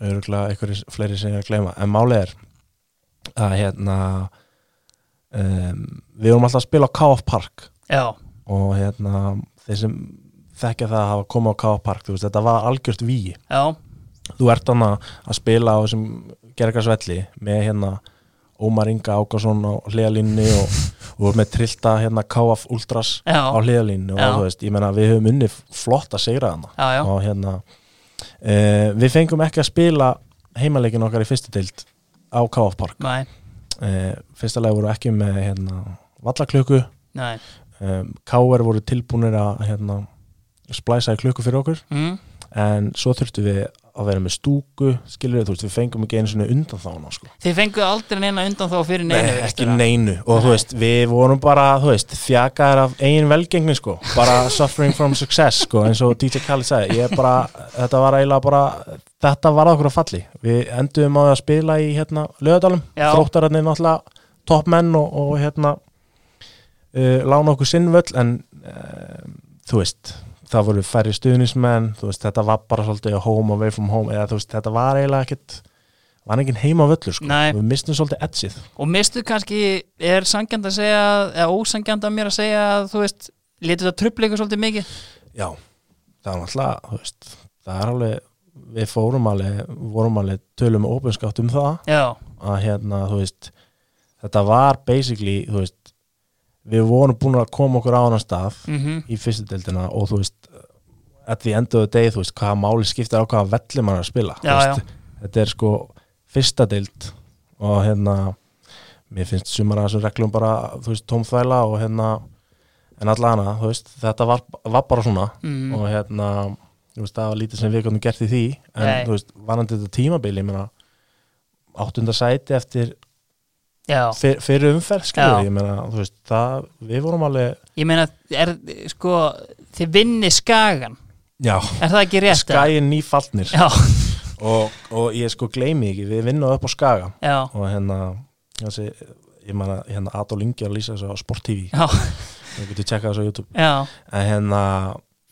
S2: örgulega einhverju fleiri sem ég er að gleyma en málið er að hérna um, við vorum alltaf að spila á K.F. Park
S1: já
S2: og hérna þeir sem þekkja það að hafa komið á K.F. Park þú veist, þetta var algjört víi
S1: Já,
S2: þú ert hann að að spila á þessum gergarsvelli með hérna Ómar Inga Ákarsson á hliðalínni og, og voru með trillta hérna K.F. Ultras á
S1: já,
S2: hliðalínni og
S1: Já.
S2: þú veist, ég meina við höfum unni flott að segra hana
S1: já, já,
S2: og hérna uh, við fengum ekki að spila heimaleikin okkar í fyrstu dild á K.F. Park
S1: næ,
S2: uh, fyrsta leið voru ekki með hérna, vallaklöku
S1: næ
S2: um, K.R. voru tilbúinir að hérna, splæsa í klöku fyrir okkur
S1: mm,
S2: en svo þurftum við að vera með stúku skilur við, þú veist, við fengum ekki einu svona undan þána sko.
S1: Þið fenguð aldrei neina undan þá fyrir neina
S2: Nei, ekki neinu og þú veist, við vorum bara, þú veist, þjakaðar af eigin velgengni sko, bara suffering from success sko, eins og DJ Khaled sagði ég bara, þetta var eiginlega bara þetta var að okkur að falli, við endum á að spila í hérna lögadalum
S1: Já.
S2: þróttararnir náttúrulega toppmenn og, og hérna uh, lána okkur sinnvöll en uh, þú veist, það voru færri stuðnismenn, þú veist, þetta var bara svolítið home away from home, eða þú veist, þetta var eiginlega ekkit, var enginn heima völlur sko,
S1: Nei.
S2: við mistum svolítið edgið
S1: og mistu kannski er sangjand að segja eða ósangjand að mér að segja að þú veist, letur þetta trubla ykkur svolítið mikið
S2: Já, það var alltaf, þú veist, það er alveg, við fórum alveg, vorum alveg tölum og opinskátt um það
S1: já,
S2: að hérna, þú veist, þetta var basically, þú veist, við vorum búin að koma okkur á annan stað
S1: mhm,
S2: í fyrstu deildina og þú veist, at the end of the day, þú veist, hvaða máli skiptir á hvaða velli mann er að spila,
S1: Já,
S2: þú veist, þetta er sko fyrsta deild og hérna, mér finnst sumar að þessum reglum bara, þú veist, tómþvæla og hérna, en allana, þú veist, þetta var, var bara svona
S1: mhm
S2: og hérna þú veist, það var lítið sem við gætum gert í því en
S1: Nei.
S2: þú veist, varandi þetta tímabili ég meina, áttunda sæti eftir
S1: já,
S2: fyr, fyrir umferð skilur,
S1: Já.
S2: ég meina, þú veist, það við vorum alveg,
S1: ég meina er, sko, þið vinni skagan
S2: já
S1: er það ekki rétt? eða?
S2: skæin nýfallnir
S1: já,
S2: og, og ég sko gleymi ekki, við vinnum upp á skaga
S1: já,
S2: og hérna þessi, ég meina, hérna Adol Ingi að lýsa þessu á Sport TV,
S1: já,
S2: þú getur tjekkað þessu á YouTube
S1: já
S2: en hérna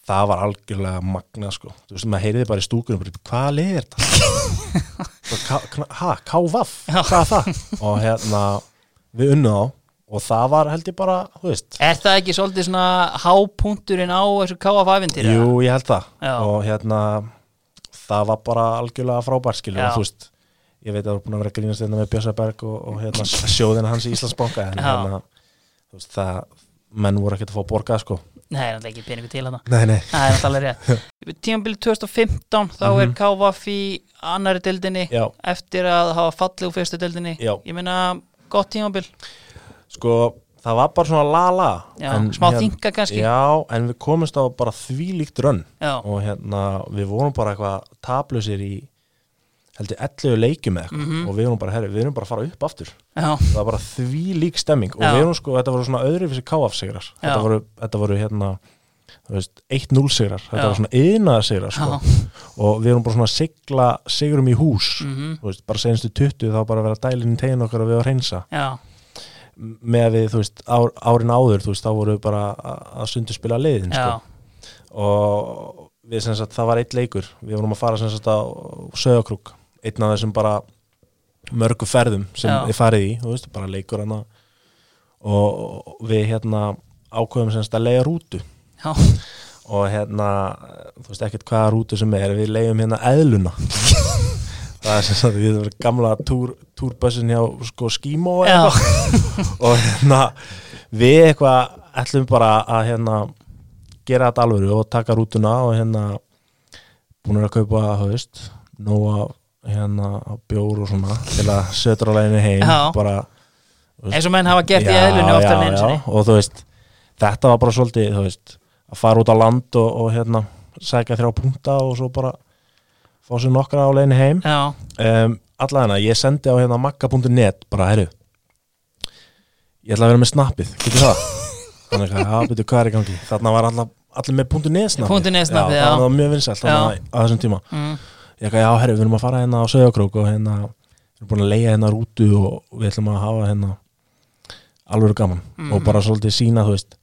S2: það var algjörlega magna sko þú veist, maður heyriði bara í stúkunum bara, hvaða lið er þetta? Bara, "Ka- kna- ha, kávaff, hvað er það? og hérna, við unnum þá og það var held ég bara, þú veist
S1: er það ekki svolítið svona hápunkturinn á þessu KF-ævindir?
S2: jú, ég held það
S1: Já.
S2: og hérna, það var bara algjörlega frábært skilur,
S1: Já.
S2: og þú veist ég veit að það var búin að vera að grínast hérna með Björsaberg og, og hérna, sjóðina hans í Íslandsbanka en
S1: Já.
S2: hérna, þú veist, það menn voru ekkert að fá borgað sko
S1: Nei, það er náttúrulega ekki peningur til hana
S2: Nei, nei
S1: Það er náttúrulega alveg rétt Tímabili 2015 þá er
S2: Mhm.
S1: KVF í annari deildinni
S2: Já,
S1: eftir að hafa fallið úr fyrstu deildinni
S2: Já.
S1: Ég meina, gott tímabil
S2: sko, það var bara svona lala
S1: Já, smá þinga kannski.
S2: hérna, Já, en við komumst á bara þvílíkt rönn
S1: Já,
S2: og hérna, við vorum bara eitthvað tablusir í heldur 11 leikjum eða eitthvað
S1: Mhm.
S2: og við vorum bara, herri, við erum bara að fara upp aftur
S1: já,
S2: það var bara þvílík stemming og
S1: Já.
S2: við erum sko, þetta voru svona öðrufísi káafsigrar þetta
S1: Já.
S2: voru, þetta voru hérna þú veist, 1-0 sigrar, þetta
S1: Já.
S2: voru svona yðnaða sigrar sko.
S1: já
S2: og við erum bara svona að sigla sigurum í hús
S1: mhm,
S2: þú veist, bara senstu 20 þá bara að vera dælinn í tegin okkar og við að reynsa
S1: Já,
S2: með að við, þú veist, ár, árin áður þú veist, þá voru við bara að, að sundu spila liðin sko.
S1: já,
S2: og við sem sagt, það var eitt leikur við vorum að fara sem sagt á Söðakrúk einn af þessum bara mörgu ferðum sem
S1: Já.
S2: við farið í þú veist, bara leikur hana og við hérna ákveðum sem sagt að leiða rútu
S1: já
S2: og hérna, þú veist ekkert hvaða rútu sem er, við leiðum hérna eðluna það er sem sagt við erum gamla túr, túrbössin hjá sko skímó eða
S1: Já,
S2: og hérna við eitthvað ætlum bara að hérna gera þetta alvöru og taka rútuna og hérna búin að kaupa haust nóa hérna af bjór og svona til að sötra læginni heim
S1: Já.
S2: bara
S1: eins og menn hafa gert í
S2: Já,
S1: eðlunni oftar
S2: já,
S1: en einu
S2: já.
S1: sinni
S2: og þú veist þetta var bara svolítið þú veist að fara út á land og, og hérna sækja þrjá punta og svo bara fá sér nokkra á leiðinni heim
S1: Já,
S2: um, allavega, ég sendi á hérna magga.net bara, herru ég ætla að vera með snappið, getur það þannig að, já, betur hvað er í gangi þarna var alla- allir með .net snappið
S1: .net snappið, já.
S2: það var mjög vinsælt þarna á þessum tíma
S1: mm,
S2: ég eitthvað, já, herru, við erum að fara hérna á Söðakrók og hérna, við erum búin að leiða hérna rútu og við ætlum að hafa hérna alveg gaman
S1: Mhm.
S2: og bara svolítið sína, þú veist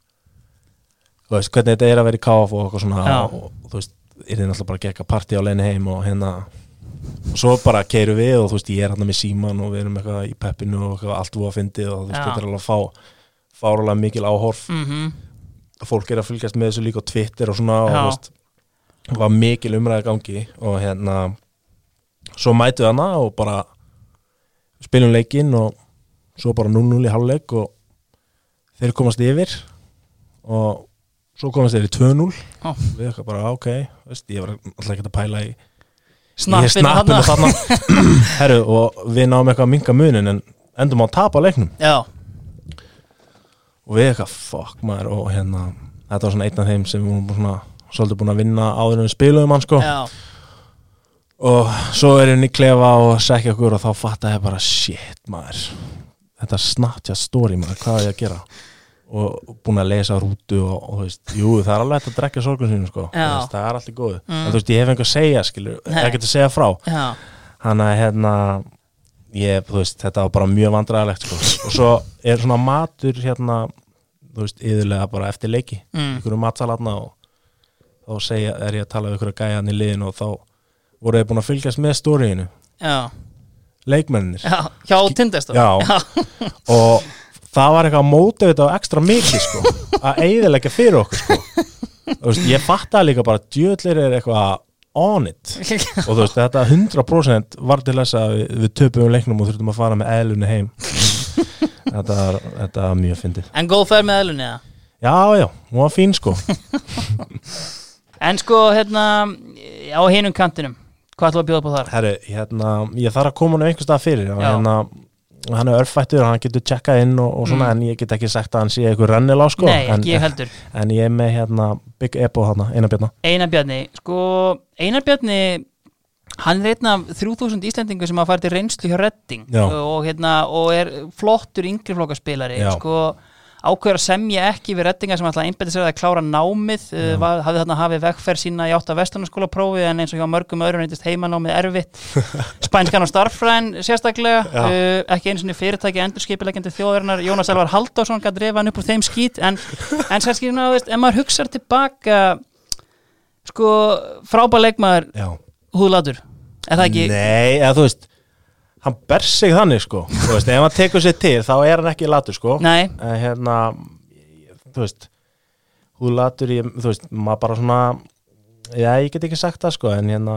S2: þú veist, hvernig þetta er að vera í KF og eitthvað svona
S1: Já.
S2: og, og þú veist, er þið náttúrulega bara að gekka partí á leiðinni heim og hérna og svo bara keirum við og þú veist, ég er hérna með síman og við erum eitthvað í peppinu og eitthvað allt voða fyndið og þú veist,
S1: Já.
S2: þetta er alveg að fá fárulega mikil áhorf
S1: mhm,
S2: fólk er að fylgjast með þessu líka á Twitter og svona og
S1: Já.
S2: þú veist, var mikil umræði gangi og hérna svo mætum við hana og bara spilum leikinn og svo bara 0-0 í halvleik og þeir komast yfir og svo komast þeir í 2-0
S1: Já.
S2: við eitthvað bara ok veist, ég var alltaf ekki að pæla í
S1: Snappinu
S2: snappinu
S1: þarna.
S2: þarna herru og við náum eitthvað að minga munin en endum á að tapa leiknum
S1: Já,
S2: og við eitthvað fuck maður og hérna þetta var svona einn af þeim sem við vorum svona svolítið búin að vinna áður en við spiluðum hann sko
S1: já,
S2: og svo er henni klefa og sekja okkur og þá fatta ég bara shit maður þetta snartja story maður, hvað er ég að gera og búin að lesa rútu og, og þú veist, jú það er alveg hægt að drekja sorgun sínu sko, Þú
S1: Já.
S2: veist, það er allir góðu
S1: Mm.
S2: en þú veist, ég hef einhver að segja skilur,
S1: Nei.
S2: ég get að segja frá
S1: já
S2: þannig að hérna ég, þú veist, þetta var bara mjög vandræðalegt sko. og svo er svona matur hérna, þú veist, yðurlega bara eftir leiki,
S1: mm,
S2: ykkur um matsalatna og þá segja, er ég að tala við ykkur að gæja hann í liðinu og þá voru þið búin að fylgjast með stóriðinu,
S1: Já,
S2: leikmennir
S1: já, hjá tindastóð
S2: Já. og það var eitthvað að móta þetta ekstra mikið sko, að eyðilega fyrir okkur sko. þú veist, ég fattaði líka bara djöðlir er eitthvað on it og þú veist, þetta 100% var til þess að við, við töpum leiknum og þurftum að fara með eðlunni heim þetta, var- þetta var mjög fyndið
S1: En góð fær með eðlunni það
S2: já, já, hún var fín sko
S1: En sko, hérna, á hinum kantinum Hvað ætlum að bjóða upp á þar?
S2: Herru, hérna, ég þarf að koma hann einhvers stað fyrir og
S1: Já.
S2: hérna, hann er örfættur og hann getur tjekkað inn og, og svona, en ég get ekki sagt að hann sé eitthvað rennilá sko
S1: Mm. Nei,
S2: en,
S1: ekki ég heldur
S2: en ég er með hérna Big Ebo hana, eina björna
S1: Einar Bjarni, sko, Einar Bjarni hann er einn af 3000 Íslendingu sem hafa farið til reynslu hjá Redding
S2: Já.
S1: og, hérna, og er flottur yngri flokkaspilari
S2: Já.
S1: sko, ákveður að semja ekki við Reddinga sem ætla að einbæta sér að klára námið uh, var- hafði þarna hafið vegferð sína í átt að vestunarskóla prófi en eins og hjá mörgum öðrum reyndist heimanámið erfitt spænskan og starffræðin sérstaklega
S2: Já.
S1: uh, ekki einu sinni fyrirtæki endurskipilegjandi þjóðarinnar Jónas Elvar Halldórsson gætt refa hann upp úr þeim skít en, en sérskilina, veist, ef maður hugsar tilbaka sko, frábær leikmaður
S2: Já,
S1: húðlatur er það ekki?
S2: Nei, eða þú veist hann ber sig þannig sko þú veist, ef hann tekur sig til, þá er hann ekki latur sko
S1: Nei.
S2: en hérna ég- þú veist hún latur ég, þú veist, maður bara svona já, ég get ekki sagt það sko en hérna,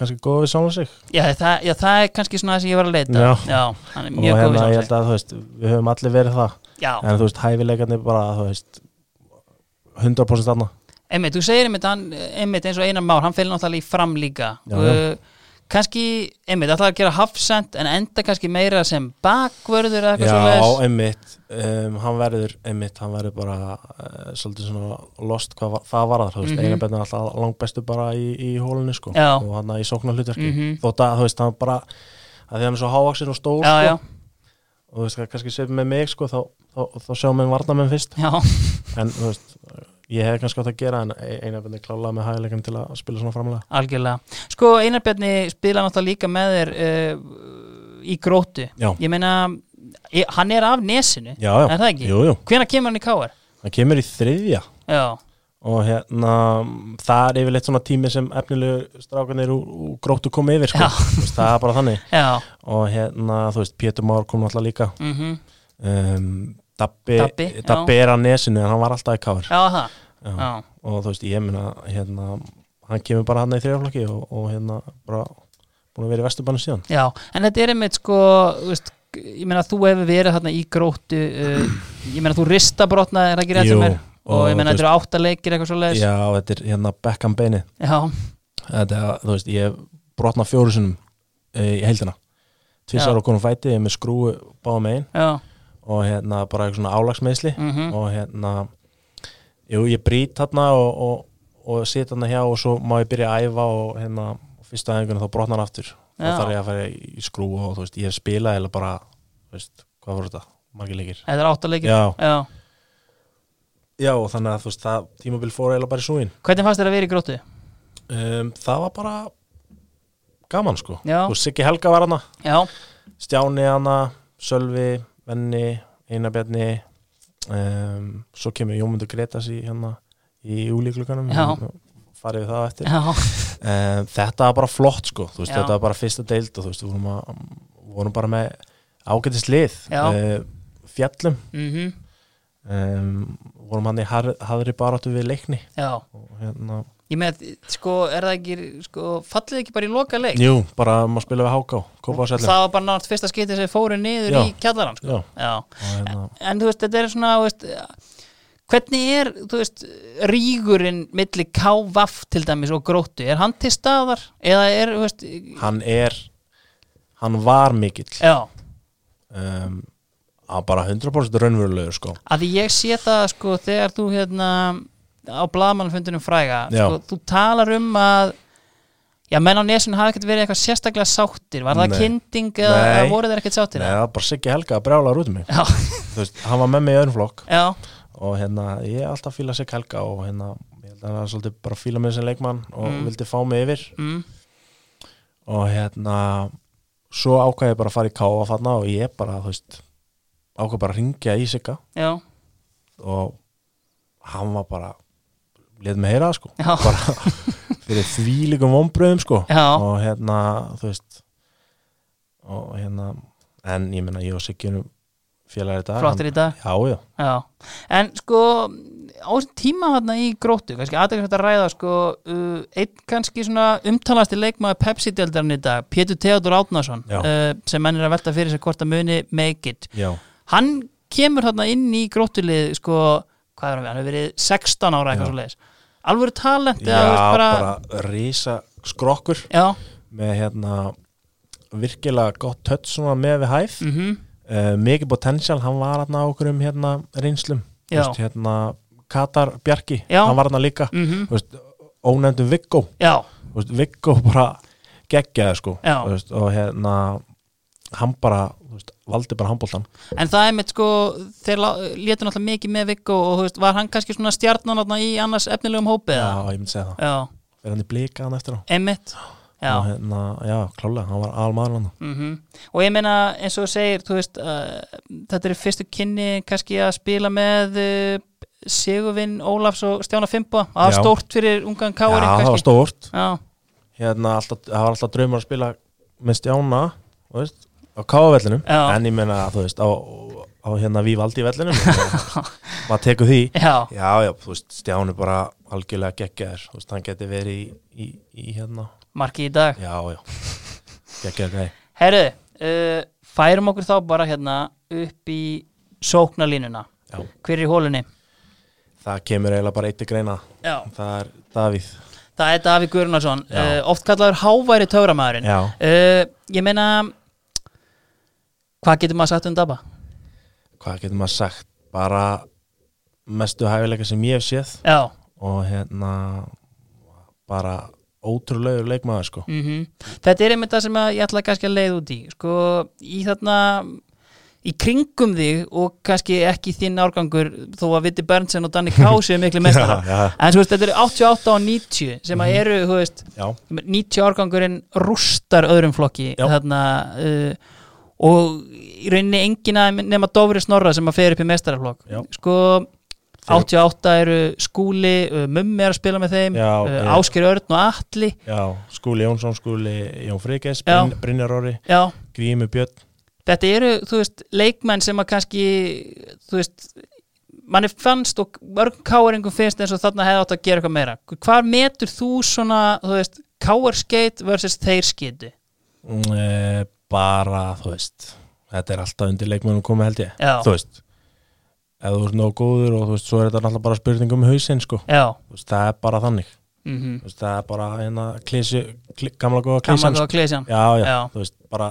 S2: kannski góð við sjálf sig
S1: Já, það, já, það er kannski svona það sem ég var að leita
S2: Já.
S1: hann er
S2: og
S1: mjög góð
S2: hérna, ég
S1: við
S2: held að, þú veist, við höfum allir verið það
S1: Já,
S2: en þú veist, hæfileikarnir bara, þú veist 100% þarna
S1: Einmitt, þú segir einmitt, hann, einmitt eins og Einar Már, hann fyrir náttúrulega í fram líka
S2: Já, já.
S1: uh, kannski, einmitt, ætlaði að gera hafsend en enda kannski meira sem bakvörður eða eitthvað
S2: Já,
S1: svo
S2: einmitt um, hann verður, einmitt, hann verður bara uh, svolítið svona lost hvað var, það varðar, þú veist, mm
S1: Mhm.
S2: -hmm. eiginlega alltaf langbæstu bara í, í hólunni, sko
S1: Já.
S2: og hann í sóknarhlutverki,
S1: Mhm.
S2: þótt að, þú veist, hann bara að því hann er svo hávaksin og stór,
S1: Já,
S2: sko
S1: já,
S2: og þú veist, það er kannski sveipið með mig, sko þá, þá, þá sjáum við varnamenn fyrst
S1: já,
S2: en, þú veist, ég hef kannski átt að gera en eiginlega benni klála með hægilegum til að spila svona framlega
S1: algjörlega Sko, Einar Bjarni spila náttúrulega líka með þér uh, í grótu
S2: Já.
S1: Ég meina, ég, hann er af nesinu
S2: Já, já,
S1: Er það ekki?
S2: jú, jú,
S1: Hvenær kemur hann í káar?
S2: hann kemur í þriðja
S1: Já,
S2: og hérna það er yfirleitt svona tími sem efnilegu strákanir úr, úr gróttu komið yfir sko.
S1: Já.
S2: Þú veist, það er bara þannig
S1: já,
S2: og hérna, þú veist, Pétur Már kom náttúrulega líka
S1: mhm
S2: um, Dabbi,
S1: Dabbi, já.
S2: Dabbi er að nesinu en hann var alltaf í káður
S1: Já, það,
S2: Já.
S1: já,
S2: og þú veist, ég meina hérna, hann kemur bara hann í þriðaflokki og, og hérna, bara búin að vera í vesturbannu síðan
S1: já En þetta er einmitt sko, þú veist, ég meina þú hefur verið þarna í gróttu uh, Ég meina þú ristabrotna, er það ekki rétt
S2: Jú,
S1: sem er? Og ég
S2: og
S1: meina
S2: þú
S1: þetta eru átta leikir eitthvað svo leiðis
S2: Já, og þetta er hérna Beckham beini
S1: já,
S2: þetta, er, þú veist, ég brotna fjóru sinum e, í heildina
S1: Já.
S2: tvisar og konum fæti, ég er með skrúu báðum megin
S1: já,
S2: og hérna bara eitthvað svona álagsmeðsli
S1: mhm,
S2: og hérna jú, ég brýt þarna og, og, og sit þarna hjá og svo má ég byrja að æfa og hérna fyrsta aðeinguna þá brotnar hann aftur og
S1: Já.
S2: þarf ég að fara í skrú og þú veist, ég spila eða bara, þú veist, hvað voru þetta margir leikir
S1: þetta eru átta leikir
S2: já,
S1: já.
S2: já, og þannig að þú veist, það tímabil fór eða bara í súin
S1: Hvernig fannst þér að vera í gróttu?
S2: um, það var bara gaman sko
S1: Já,
S2: og Siggi Helga var hana
S1: já,
S2: Stjáni hana, Sölvi, Venni, Einarbjarni um, svo kemur Jómundur Gretas í hérna í júlíklukkanum
S1: Já.
S2: farið við það á eftir
S1: já,
S2: um, þetta var bara flott sko þú veist,
S1: Já.
S2: þetta var bara fyrsta deild og þú veist, við vorum, að, vorum bara með ágætis lið
S1: Já.
S2: eh, fjallum
S1: mhm,
S2: um, vorum hann í har- harðri baráttu við leikni
S1: já
S2: og hérna,
S1: Ég meina, sko, er það ekki, sko, fallið ekki bara í loka leik?
S2: jú, bara maður spila við háká, kópa á
S1: Það var bara nátt fyrsta skipti sem fóru niður
S2: Já.
S1: í kjallarann, sko
S2: já,
S1: Já,
S2: og hérna
S1: en þú veist, þetta er svona þú veist, hvernig er þú veist, rígurinn milli KVAF til dæmis og gróttu, er hann til staðar eða er, þú veist
S2: hann er hann var mikill
S1: já,
S2: um, að bara 100% raunverulegur sko.
S1: að því ég sé það sko þegar þú hérna á blaðmannfundunum fræga
S2: Já.
S1: sko, þú talar um að já, menn á nesun hafi ekkert verið eitthvað sérstaklega sáttir var það
S2: Nei.
S1: kynding eða,
S2: Nei.
S1: eða voru þeir ekkert
S2: Nei,
S1: sáttir
S2: það var bara Siggi Helga að brjála út um mig
S1: já,
S2: Þú veist, hann var með mig í öðrum flokk
S1: já,
S2: og hérna, ég er alltaf að fíla Siggi Helga og hérna, ég held að hann er svolítið bara að fíla mig sem leikmann og
S1: Mm.
S2: vildi fá mig yfir
S1: mm,
S2: og hérna svo ákvað ég bara að fara í káfa þarna og ég bara, þú veist ákvað bara að ringja í Sigga
S1: já,
S2: og hann var bara let mig heyra það sko
S1: Já.
S2: bara fyrir því líkum vonbröðum sko
S1: já
S2: og hérna þú veist og hérna en ég meina ég og Siggi erum félagar í dag
S1: flottir í dag
S2: já já
S1: Já, en sko á þessum tíma hérna í gróttu kannski aðeins þetta ræða sko uh, einn kannski svona umtalasti leikmaður Pepsi-deldarinn í dag, Pétur Theodor Átnason
S2: Já.
S1: uh, sem menn er að velta fyrir sér hvort að muni make it.
S2: já
S1: Hann kemur hérna inn í gróttulið sko, hvað er hann við, hann hefur verið 16 ára eitthvað
S2: Já.
S1: svo leiðis. Alvöru talent eða
S2: já
S1: þú veist,
S2: bara, risa skrokkur
S1: Já,
S2: með hérna virkilega gott tött svona með við hæð
S1: mhm,
S2: uh, mikið potential, hann var hérna á okkur um hérna reynslum Þú
S1: Já.
S2: veist, hérna Katar Bjarki,
S1: Já.
S2: hann var hérna líka
S1: mhm,
S2: Þú veist, ónefndum Viggo
S1: já,
S2: Þú veist, Viggo bara geggjaði sko
S1: Já.
S2: Þú veist, og hérna hann bara, þú veist, valdi bara handbóltan
S1: en það er mitt sko þeir lá- létu náttúrulega mikið með Viggo og þú veist, var hann kannski svona stjarnan hérna, í annars efnilegum hópið?
S2: Já, ég myndi segja það
S1: Já,
S2: Fyrir hann í blika hann eftir á
S1: einmitt Já,
S2: Og hérna, já, klálega, hann var almaður hann
S1: mhm. og ég meina eins og þú segir þú veist, uh, þetta er fyrstu kynni kannski að spila með uh, Sigurvin Ólafs og Stjána Fimbo það var
S2: Já.
S1: stórt fyrir ungan
S2: Já,
S1: Kári
S2: það var
S1: kannski
S2: stórt
S1: Já,
S2: Hérna, alltaf, það var alltaf draumar að spila með Stjána, þú veist á káfavellinum,
S1: Já.
S2: en ég meina, þú veist á, á hérna Vívaldi vellinum maður tekur því
S1: já,
S2: Já, já, þú veist, Stjáni bara algjörlega geggjaður, þú veist, hann geti verið í, í, í hérna,
S1: marki í dag
S2: já, já geggjaður gæði
S1: Herru, uh, færum okkur þá bara hérna upp í sóknarlínuna
S2: Já.
S1: Hver er í hólunni?
S2: það kemur eiginlega bara eitt til greina
S1: Já,
S2: það er Davíð
S1: það er Davík Guðrunarsson
S2: Já.
S1: uh, oft kallaður háværi töframæðurinn
S2: Já.
S1: uh, Ég meina hvað getur maður sagt um Dabba?
S2: hvað getur maður sagt bara mestu hæfileika sem ég hef séð
S1: Já,
S2: og hérna bara ótrúlegur leikmaður sko
S1: mm þetta er einmitt það sem að ég ætla kannski að leið út í sko, í þarna í kringum þig og kannski ekki þinn árgangur þó að Viti Berntsen og Danny Ká séu miklu mestara
S2: já, Mhm.
S1: en þú veist, þetta eru 88 og 90 sem að eru, þú veist,
S2: já,
S1: 90 árgangurinn rústar öðrum flokki
S2: Já.
S1: þarna uh, og í rauninni engin að nema Dofri Snorra sem að fer upp í mestaraflokk
S2: Já.
S1: sko 88 eru skúli, uh, mummi er að spila með þeim
S2: Já,
S1: uh,
S2: já.
S1: Ásker Örn og Atli
S2: já Skúli Jónsson, Skúli Jón Frikes
S1: Já.
S2: Bryn, Brynjar Orri,
S1: já,
S2: Grími Björn
S1: þetta eru, þú veist, leikmenn sem að kannski, þú veist manni fannst og mörg káeringum finnst eins og þarna hefði átt að gera eitthvað meira hvar metur þú svona, þú veist káerskeit versus þeir skeiti
S2: mm, e, bara, þú veist þetta er alltaf undir leikmannum komið held ég
S1: Já.
S2: þú veist ef þú ert nóg góður og þú veist, svo er þetta náttúrulega bara spurning um hausinn sko,
S1: já,
S2: þú veist, það er bara þannig
S1: mm -hmm.
S2: þú veist, það er bara hérna klísi, klí, gamla góða klísan
S1: gaman og klesjan
S2: sko. já, já,
S1: Já.
S2: þú veist, bara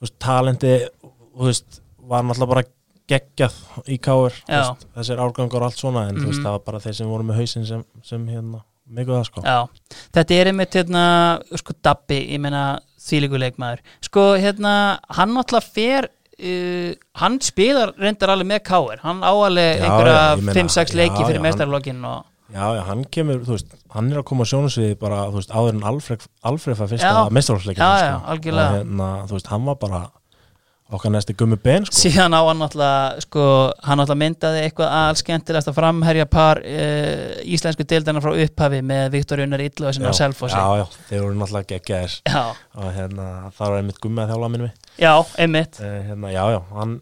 S2: þú veist, talenti þú veist, var náttúrulega bara geggjað í káir, þú
S1: Já.
S2: veist, þessir árgangur og allt svona, en þú veist,
S1: Mhm.
S2: það var bara þeir sem voru með hausinn sem, sem hérna, mikið það sko
S1: Já, þetta er einmitt hérna, sko Dabbi, ég meina þvílíku leikmaður, sko hérna hann alltaf fer uh, hann spilar reyndar alveg með káer hann á alveg
S2: Já, já, ég
S1: einhverja
S2: meina,
S1: 5-6 leiki
S2: já,
S1: fyrir
S2: já, hann-
S1: mestarlokkin og
S2: já, já, hann kemur, þú veist, hann er að koma á sjónusviði bara, þú veist, áður en Alfred Alfred var fyrst
S1: Já.
S2: að mestrarhófsleikin
S1: Já,
S2: sko.
S1: já, algjörlega.
S2: Og hérna, þú veist, hann var bara okkar næsti gummi ben sko
S1: síðan á hann alltaf sko, hann alltaf myndaði eitthvað allskemmtilegast að framherja par uh, íslensku deildana frá upphafi með Viktor Unnar Illu sem
S2: já,
S1: á Selfossi
S2: já, já, þeir voru náttúrulega geggjaðir
S1: já,
S2: og hérna, það var einmitt gummi að þjálfa minni
S1: já, einmitt
S2: Eh, hérna, já, já, hann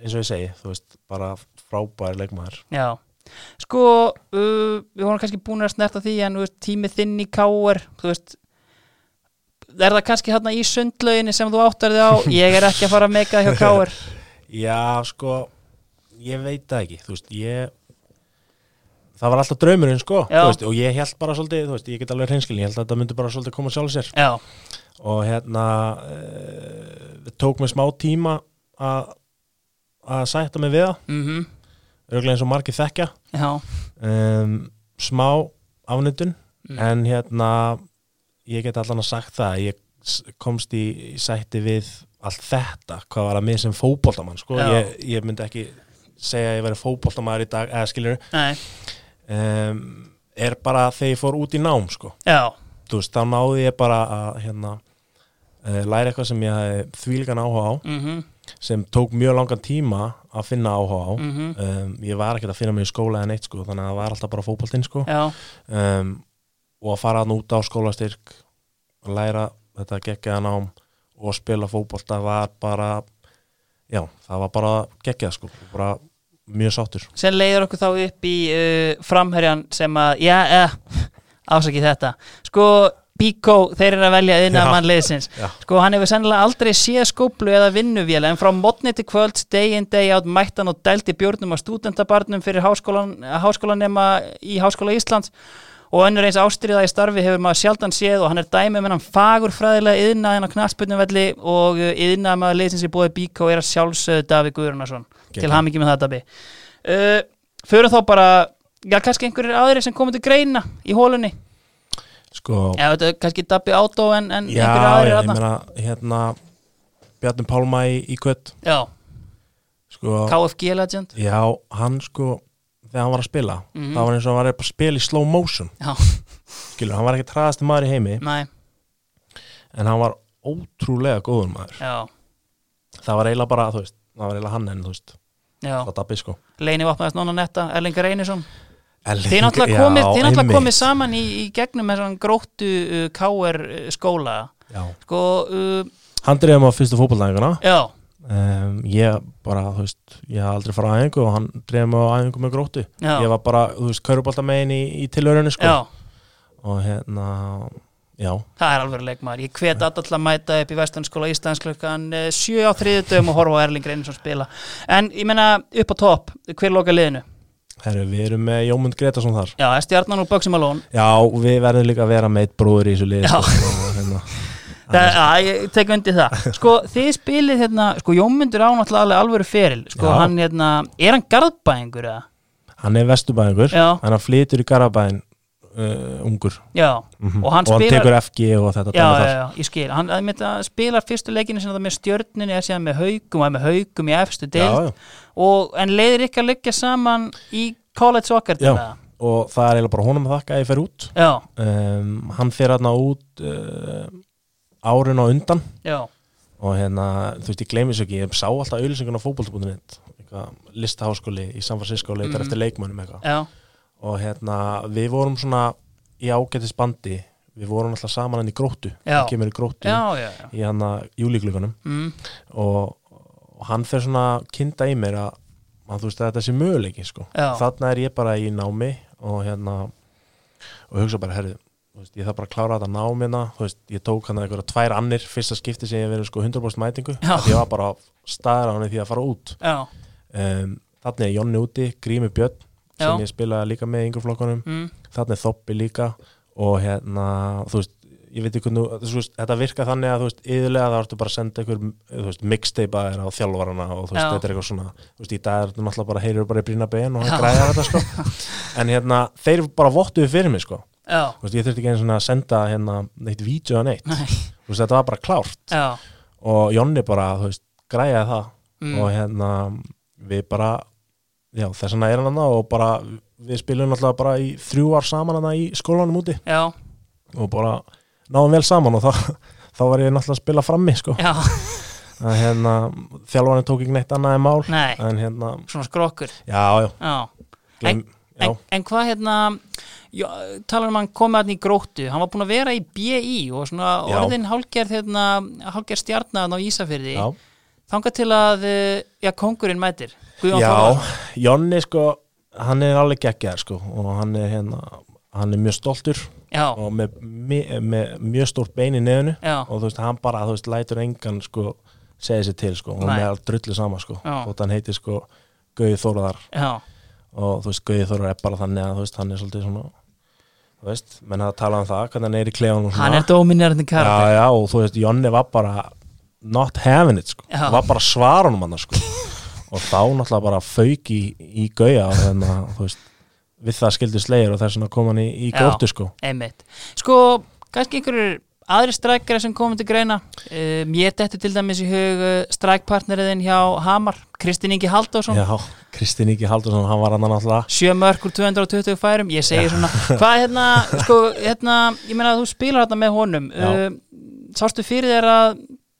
S2: eins og ég segi, þú veist, bara frábær leikmaður
S1: já. sko, uh, við vorum kannski búin að snerta því en þú veist, tími þinn í káar þú veist er það kannski hérna í sundlauginni sem þú áttar þig á ég er ekki að fara að meika hjá káar
S2: Já, sko, ég veit það ekki þú veist, ég það var alltaf draumurinn, sko
S1: Já.
S2: þú veist, og ég held bara svolítið, þú veist, ég get alveg hreinskilin ég held að þetta myndi bara svolítið koma sjálf sér
S1: já,
S2: og hérna eh, það tók mig smá tíma að að sætta mig við það,
S1: mhm
S2: örglega eins og margir þekkja
S1: já,
S2: um, smá afnöndun
S1: Mm.
S2: en hérna ég get allan að sagt það að ég s- komst í, í sætti við allt þetta, hvað var að mig sem fótboltamann sko,
S1: Já.
S2: ég, ég myndi ekki segja að ég veri fótboltamaður í dag eða skilur
S1: nei,
S2: um, er bara þegar ég fór út í nám sko,
S1: já,
S2: þú veist, þá náði ég bara að hérna eh, læra eitthvað sem ég hafði þvílgan áhuga á
S1: mhm,
S2: sem tók mjög langan tíma að finna áhuga á
S1: mhm
S2: um, ég var ekkert að finna mig í skóla en eitt sko, þannig að það var alltaf bara fótboltinn sko
S1: já,
S2: um, og að fara hann út á skólastyrk að læra þetta geggjaða nám og spila fótbolta var bara já, það var bara geggjað sko bara mjög sáttur
S1: sem leiður okkur þá upp í uh, framherjan sem að, já, eh, ásaki þetta sko, Bíkó, þeir eru að velja inn að
S2: Já.
S1: mann liðsins
S2: Já.
S1: sko, hann hefur sennilega aldrei séð skóplu eða vinnuvél en frá mótni til kvölds, day in, day out mættan og dældi bjórnum á stúdendabarnum fyrir háskólan, háskólanema í Háskóla Íslands og önnur eins ástriða í starfi hefur maður sjaldan séð og hann er dæmi um með hann fagur fræðilega yðnaðin á knastbyrnumvelli og yðnaði maður liðsins í bóði Bíkó er að sjálfsögðu Davík Guðrunarsson til
S2: Geggjað.
S1: hamingi með það Dabi uh, Föru þá bara Já, kannski einhverjir aðrir sem komið til greina í hólunni
S2: sko,
S1: Já, þetta er kannski Dabbi Átó en, en
S2: já,
S1: einhverjir aðrir
S2: ég
S1: aðna
S2: meina hérna Bjarni Pálma í, í kvöt
S1: Já,
S2: sko,
S1: KFG Legend
S2: já, hann sko þegar hann var að spila,
S1: Mhm.
S2: það var eins og hann var bara að spila í slow motion,
S1: Já,
S2: skilur, hann var ekki traðasti maður í heimi,
S1: næ,
S2: en hann var ótrúlega góður maður
S1: já,
S2: það var eiginlega bara, þú veist, það var eiginlega hann en þú veist,
S1: já
S2: það dabbi sko
S1: Leini Vapnaðast Nóna Netta, Erlingar Einarsson
S2: Elling,
S1: Þið náttúrulega komið, þið náttúrulega komið
S2: saman
S1: saman í, í gegnum með svona gróttu uh, KR skóla Sko, uh,
S2: Hann dreifði mig á fyrstu fótbollæðinguna
S1: já,
S2: um, Ég bara, þú veist, ég hafði aldrei farað á æfingu og hann dreifði mig á æfingu með gróttu
S1: já,
S2: Ég var bara, þú veist, kauruboltamegin í, í tilhörunni sko
S1: já
S2: Og hérna, já,
S1: Það er alveg leikmaður, ég hvet alla til að mæta upp í Vestlundsskóla Íslands klukkan eh, 7 á þriðutum og horfa á Erling Reynisson spila En ég meina upp á topp, hver loka liðinu?
S2: Herru, við erum með Jómund Gretarsson þar
S1: Já, það er stjarnan og Bugsum Malone
S2: Já, við verðum líka að vera meitt bróður í þessu liði
S1: Já.
S2: sko, og hérna,
S1: Það, að, ég tek undir það Sko, þið spilið hérna, sko, Jómundur á náttúrulega alveg alvöru feril Sko,
S2: Já.
S1: hann hérna, er hann garðbæðingur eða?
S2: Hann er vesturbæðingur
S1: Já.
S2: Hann er flytur í Garabæðin uh, ungur
S1: Já,
S2: Mhm.
S1: og hann
S2: og hann
S1: spilar
S2: tekur FG og
S1: já,
S2: þetta dæmi
S1: já,
S2: þar.
S1: já, ég skil, hann að, mitt, að, spilar fyrstu leikinu sinna það með stjörnunni er síðan með haukum og er með haukum í efstu deild
S2: já,
S1: og, en leiðir ekki að leggja saman í college soccer
S2: Já.
S1: til það.
S2: og það er eiginlega bara honum að þakka að ég fer út
S1: já,
S2: um, Hann fer hérna út uh, árin og undan
S1: já,
S2: og hérna, þú veist, ég gleymi þessu ekki ég sá alltaf auðlýsingun á fótbolta.net eitthvað, listaháskóli í San Francisco og leitar
S1: Mhm.
S2: eftir leikmönnum eitthvað
S1: já
S2: og hérna, við vorum svona í ágætis bandi, við vorum alltaf saman hann í gróttu,
S1: Já.
S2: hann kemur í gróttu
S1: Já, já, já
S2: í hann að júlíklíkunum
S1: mm,
S2: og, og hann fer svona að kynda í mér að, að þú veist að þetta sé möguleiki sko.
S1: Já.
S2: þarna er ég bara í námi og hérna og hugsa bara, herri, þú veist, ég þarf bara að klára þetta námina, þú veist, ég tók hann einhverja tvær annir, fyrsta skipti sem ég hef verið sko 100% mætingu,
S1: Já.
S2: því ég var bara staðar á henni því að fara út
S1: Já,
S2: um, þannig er Jonni úti, Grími Björn sem
S1: Já.
S2: ég spilaði líka með í yngurflokkunum
S1: mm,
S2: þarna er þoppi líka og hérna, þú veist ég veit ekki hvernig, þú veist, þetta virka þannig að þú veist, yðurlega það ertu bara að senda einhver þú veist, mixteipa þér á þjálfarana og þú veist,
S1: Já.
S2: þetta er eitthvað svona, þú veist, í dag er þetta náttúrulega bara, heyrir bara í brýna ben
S1: Já.
S2: og hann græðar þetta, sko en hérna, þeir bara vottuðu fyrir mig, sko þú
S1: já,
S2: veist, ég þurfti ekki einu svona að senda hérna neitt vídeo að neitt,
S1: nei,
S2: þú veist, þetta var bara klárt
S1: já
S2: og Jonni bara, þú veist, græði það
S1: mm,
S2: og hérna, við bara já, þess vegna er hann þarna og bara við spilum náttúrulega bara í þrjú ár saman hann í skólanum úti
S1: Já,
S2: og bara náðum vel saman og þá, þá var ég náttúrulega að spila frammi sko.
S1: já,
S2: að hérna, þjálfarni tók ekki neitt annað en mál
S1: nei
S2: en hérna,
S1: Svona skrokkur,
S2: já, já,
S1: já
S2: glem, já
S1: En, en hvað hérna já, talar um að hann komið hann í gróttu hann var búin að vera í BI og svona
S2: Já.
S1: orðin hálgerð hérna, hálgerð stjarnan á Ísafyrði
S2: já,
S1: þangað til að eh, já, kongurinn mætir Guðjón
S2: já,
S1: Þórðarson.
S2: Jonni sko hann er alveg geggjaður sko og hann er hérna, hann er mjög stoltur
S1: já,
S2: og með, með, með mjög stórt bein í nefnu
S1: já,
S2: og þú veist, hann bara, þú veist, lætur engan sko, segja sér til sko, og
S1: Nei.
S2: með all drullu sama sko,
S1: Já.
S2: þótt hann heiti sko Gauði Þóraðar
S1: já,
S2: og þú veist, Gauði Þóraðar er bara þannig að þú veist, hann er svolítið svona þú veist, menn að tala um það, hvernig hann er í klefanum og svona.
S1: hann er dominirandi karakter
S2: Já, já, og þú veist, Jonni var bara not having it, sko,
S1: Já.
S2: var bara svarunum hann, sko, og þá náttúrulega bara fauk í, í Gauja og þannig að, þú veist, við það skildi slegir og þess að kom hann í, í
S1: Já.
S2: gróttu, sko
S1: einmitt, sko, kannski einhverjur aðri strækjara sem komum til greina um, ég dettu til dæmis í hug uh, strækpartneriðin hjá Hamar Kristinn Ingi Halldórsson
S2: Já, Kristín Íki Haldursson, hann var hann náttúrulega
S1: sjö mörg úr 220 færum ég segi svona, hvað hérna, sko, hérna ég meina að þú spilar hérna með honum
S2: Já.
S1: uh, sástu fyrir þér að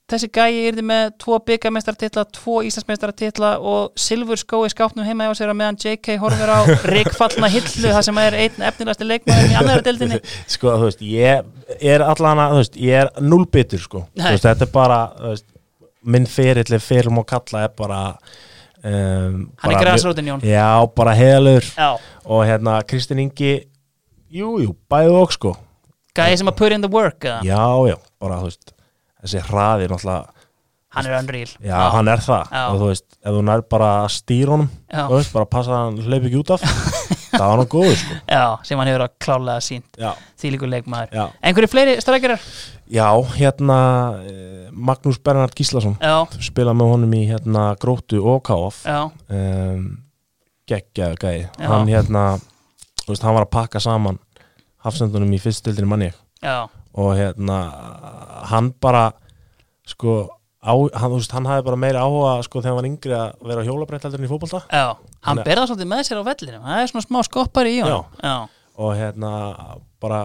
S1: þessi gæi yrði með tvo byggamestartitla tvo Íslandsmestartitla og silfur skói skápnum heima hjá sér að meðan JK horfir á rikfallna hillu þar sem er einn efnilegasti leikmaður í annari deildinni
S2: sko þú veist, ég er allan að þú veist, ég er nullbyttur sko
S1: Nei.
S2: þú veist, þetta er bara þú veist, minn ferill ef ferill má kalla er bara um,
S1: hann er græsrótin Jón
S2: já, bara heðalur
S1: já,
S2: og hérna Kristinn Ingi jú, jú, bæðu okk sko
S1: gæi sem að put in the work eða?
S2: já, já, bara þú veist þessi hraði náttúrulega,
S1: hann er unreal
S2: já, hann er það
S1: Já.
S2: og þú veist, ef þú nær bara að stýra honum
S1: Já.
S2: þú veist, bara passa að hann hlaup ekki út af það var hann góður sko
S1: já, sem hann hefur að klálega sínt
S2: já,
S1: því líkur leikmaður
S2: já,
S1: einhverju fleiri strækjarar?
S2: já hérna eh, Magnús Bernhard Gíslason
S1: já,
S2: spila með honum í hérna gróttu og káf
S1: já,
S2: um, geggjaðu gæði
S1: Já.
S2: hann hérna, þú veist, hann var að pakka saman hafsendunum í fyrstildinu manni
S1: já
S2: og hérna hann bara sko, á, hann, þú veist, hann hafði bara meira áhuga sko þegar hann var yngri að vera hjólabreitt heldur en í fótbolta
S1: Já, hann
S2: Þannig-
S1: berða svolítið með sér á vellinu Það er svona smá skoppari í honum Já,
S2: og hérna bara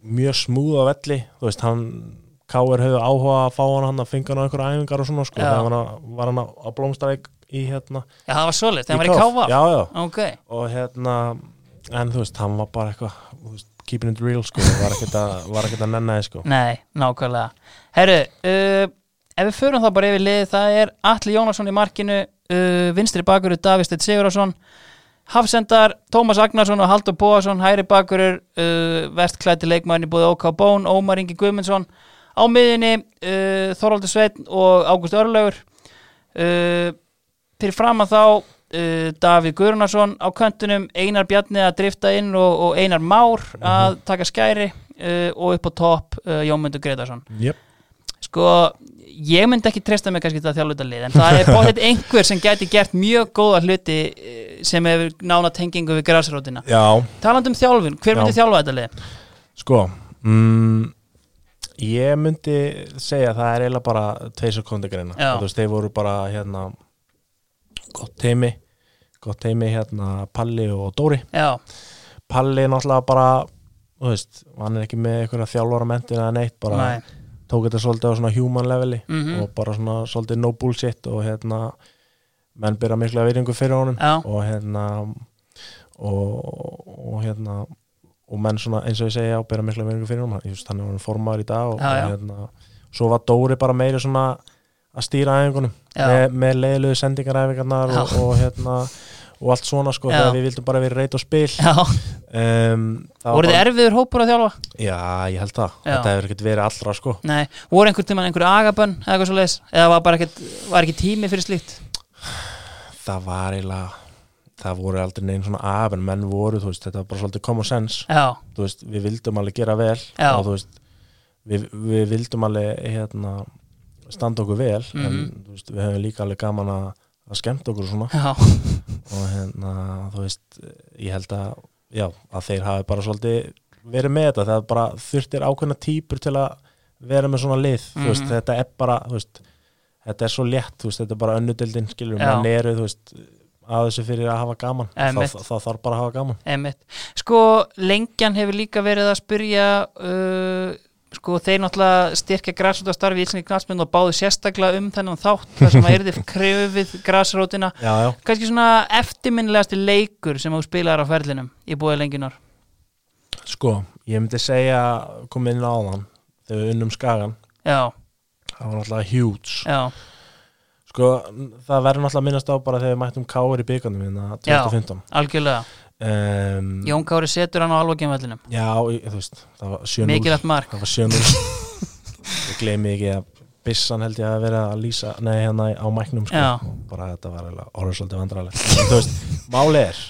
S2: mjög smúð á velli þú veist, hann Káir höfðu áhuga að fá hann hann að finga hann á einhverja æfingar og svona sko,
S1: Já.
S2: þegar hann var- var hann að blómstra í, í hérna
S1: já. það var svolítið, það var í
S2: KF.
S1: káfa
S2: Já, já,
S1: Ok,
S2: og hérna en þú veist, hann var bara eitthvað þú veist, keeping it real sko, var ekkert að, var ekkert að nenna þið sko
S1: nei, nákvæmlega Herru, uh, ef við förum það bara yfir liðið Það er Atli Jónasson í markinu uh, Vinstri bakurur Davisteit Sigurðarsson Hafsendar, Tómas Agnarsson og Haldur Bóasson Hæri bakurur, uh, vestklæti leikmæðin í búið OK Bón Ómar Ingi Guðmundsson Á miðinni uh, Þorvaldur Sveinn og Ágúst Örlaugur uh, fyrir fram að þá uh, Davíð Guðrunarsson á köntunum Einar Bjarni að drifta inn og, og Einar Már að
S2: Mhm.
S1: taka skæri uh, og upp á topp uh, Jómundur Gretarsson
S2: Jep.
S1: sko, ég myndi ekki treysta mig kannski til að þjálfa þetta lið, en það er bóðið einhver sem gæti gert mjög góða hluti eh, sem hefur nána tengingu við græsrótina.
S2: Já,
S1: Talandi um þjálfun, hver myndi
S2: Já.
S1: þjálfa þetta lið?
S2: sko mm, Ég myndi segja að það er eiginlega bara tveir sem kom til greina
S1: Já.
S2: Þú veist, þeir voru bara hérna gott teimi gott teimi hérna Palli og Dóri
S1: Já,
S2: Palli náttúrulega bara þú veist, hann er ekki með einhverja þjálfara mentin eða neitt, bara
S1: nei,
S2: tók þetta svolítið á svona human leveli
S1: Mhm.
S2: og bara svona svolítið no bullshit og hérna menn byrja mikla viðringu fyrir honum
S1: Já.
S2: og hérna og, og hérna og menn svona eins og ég segja og byrja mikla viðringu fyrir honum Ég veist, hann er hann formaður í dag og,
S1: Já, já.
S2: og hérna svo var Dóri bara meiri svona að stýra æfingunum
S1: Já.
S2: með, með leiðilegu sendingaræfingarnar og,
S1: Já.
S2: og hérna og allt svona sko
S1: Já.
S2: þegar við vildum bara verið reyta og spil
S1: já,
S2: um, það var
S1: voru þið
S2: bara-
S1: erfiður hópur að þjálfa?
S2: Já, ég held það,
S1: Já.
S2: þetta hefur ekkert verið allra sko
S1: Nei, voru einhver tíma einhver agabönn eða eitthvað svo leiðis, eða var bara ekkert, var ekki tími fyrir slíkt?
S2: það var eiginlega það voru aldrei neginn svona af en menn voru, þú veist, þetta var bara svolítið common sense
S1: Já,
S2: þú veist, við vildum alveg gera vel
S1: Já.
S2: og þú veist, við, við vildum alveg hérna, standa okkur vel en þú veist, við hefum líka alveg gaman að, að skemmta okkur og svona
S1: já,
S2: og hérna, þú veist, ég held að já, að þeir hafi bara svolítið verið með þetta, það bara þurftir ákveðna típur til að vera með svona lið þú veist,
S1: Mhm.
S2: þetta er bara, þú veist þetta er svo létt, þú veist, þetta er bara önnudildin skilur,
S1: Já.
S2: menn eru, þú veist að þessu fyrir að hafa gaman, þá,
S1: Einmitt.
S2: þá, þá þarf bara að hafa gaman
S1: einmitt. Sko, lengjan hefur líka verið að spyrja uh, sko, þeir náttúrulega styrkja græsrótastarfi í Íslinni knallmynd og báðu sérstaklega um þennan þátt þar sem að er þið krefið græsrótina
S2: Já, já,
S1: kannski svona eftirminnilegasti leikur sem þú spilar á ferlinum í búið lengjunar
S2: sko, ég myndi segja komið inn á þann, þegar við unnum skagan
S1: Já,
S2: það var náttúrulega huge
S1: já,
S2: sko, það verður náttúrulega að minnast á bara þegar við mættum Káir í byggandum hérna 2015
S1: algjörlega
S2: um,
S1: Jón Kári setur hann á alvokinvallinum
S2: Já, ég- þú veist, það var 7-0
S1: Mikilvægt mark
S2: Það var 7-0 Ég gleymi ekki að Bissan held ég að vera að lýsa Nei, hérna á mæknum sko.
S1: Já.
S2: Og Bara þetta var eiginlega orðið svolítið vandrarlegt En þú veist, máli er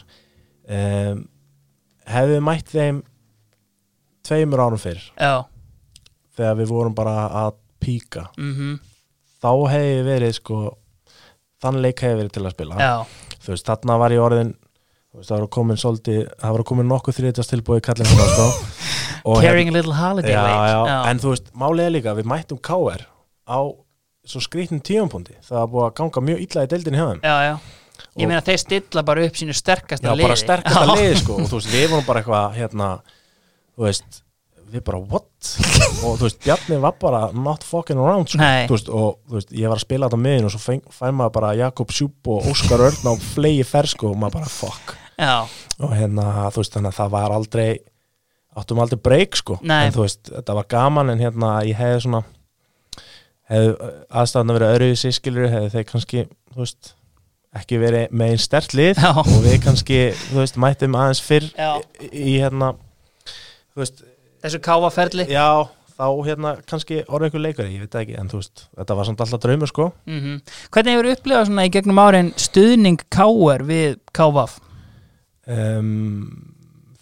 S2: um, Hefðu við mætt þeim Tveimur árum fyrr
S1: Já,
S2: Þegar við vorum bara að píka
S1: mhm,
S2: Þá hefði við verið sko Þann leik hefði verið til að spila
S1: já,
S2: Þú veist, þarna var ég orðin þú veist, Það var komin svolítið Það var komin nokkuð þriðtast tilbúið kallin hérna sko. Og hérna-
S1: Carrying a little holiday
S2: já,
S1: weight.
S2: já, en þú veist, málið er líka að við mættum KR á svo skrýtnum tíumpundi það var búið að ganga mjög illa í deildin hjá þeim
S1: já, já. Ég
S2: Og-
S1: meina þeir stilla bara upp sínu sterkasta
S2: já,
S1: liði
S2: bara sterkast
S1: Já.
S2: að liði sko og þú veist, við vorum bara eitthvað hérna, þú veist, við bara what og þú veist, Bjarni var bara not fucking around sko,
S1: Nei.
S2: þú veist, og þú veist, ég var að spila þetta miðin og svo fæn, fæn maður bara Jakob Sjúp og Óskar Örn á flegi fer sko og maður bara fuck
S1: Já,
S2: og hérna, þú veist, þannig að það var aldrei áttum aldrei breyk, sko
S1: Nei.
S2: en þú veist, þetta var gaman, en hérna ég hefði svona hefði uh, aðstæðan að vera öðru í sískilur hefði þeir kannski, þú veist ekki verið með einn stert lið
S1: Já.
S2: og við kannski, þú veist, mættum aðeins fyrr
S1: Já.
S2: í, í hérna þú veist,
S1: þessu káfaferli
S2: já þá hérna kannski orðið einhver leikari, ég veit það ekki en þú veist, þetta var samt alltaf draumur, sko
S1: mm Hvernig hefur upplifað svona í gegnum árin stuðning káar við kávaf?
S2: um,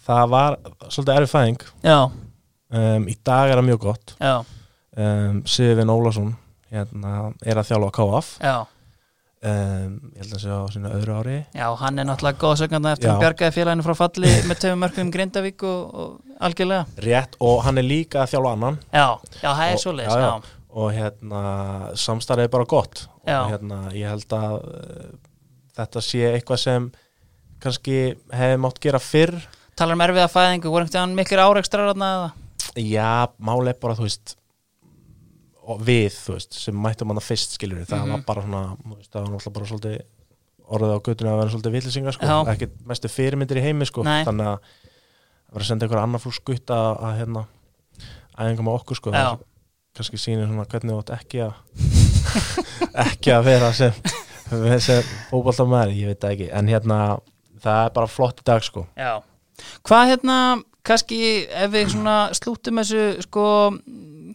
S2: það var svolítið erfið fæðing
S1: Já,
S2: um, í dag er það mjög gott
S1: já,
S2: um, Sivin Ólason hérna, er að þjálfa KF
S1: já
S2: um, ég held að sé á sína öðru ári
S1: Já, hann er náttúrulega góðsögnanda eftir
S2: Já.
S1: hann bjargaði félaginu frá falli með töfum mörgum Grindavík og, og algjörlega
S2: rétt og hann er líka að þjálfa annan
S1: Já, já, það er
S2: Og-
S1: svoleiðis
S2: já,
S1: já,
S2: já. og hérna samstarfið er bara gott
S1: Já.
S2: og hérna ég held að uh, þetta sé eitthvað sem kannski hefði mátt gera fyrr
S1: Talar um erfiða fæðingu, voru einhvern veginn mikil árekstrar þarna eða?
S2: já, máli er bara þú veist og við, þú veist, sem mættum hann að fyrst skilur það
S1: Mhm.
S2: var bara svona, þú veist, það var náttúrulega bara svolítið orðið á göttinu að vera svolítið villisingar sko,
S1: Já.
S2: ekki mestu fyrirmyndir í heimi sko,
S1: Nei.
S2: þannig að að vera að senda einhver annar flús gutt að, að hérna æfinga með okkur sko,
S1: Já.
S2: það kannski sýnir svona hvernig þú átt ekki að ekki að vera sem sem fótboltamæður, ég veit það ekki en hérna, það er bara flott í dag sko
S1: Já. Hvað hérna, kannski ef við svona slúttum þessu, sko, mm,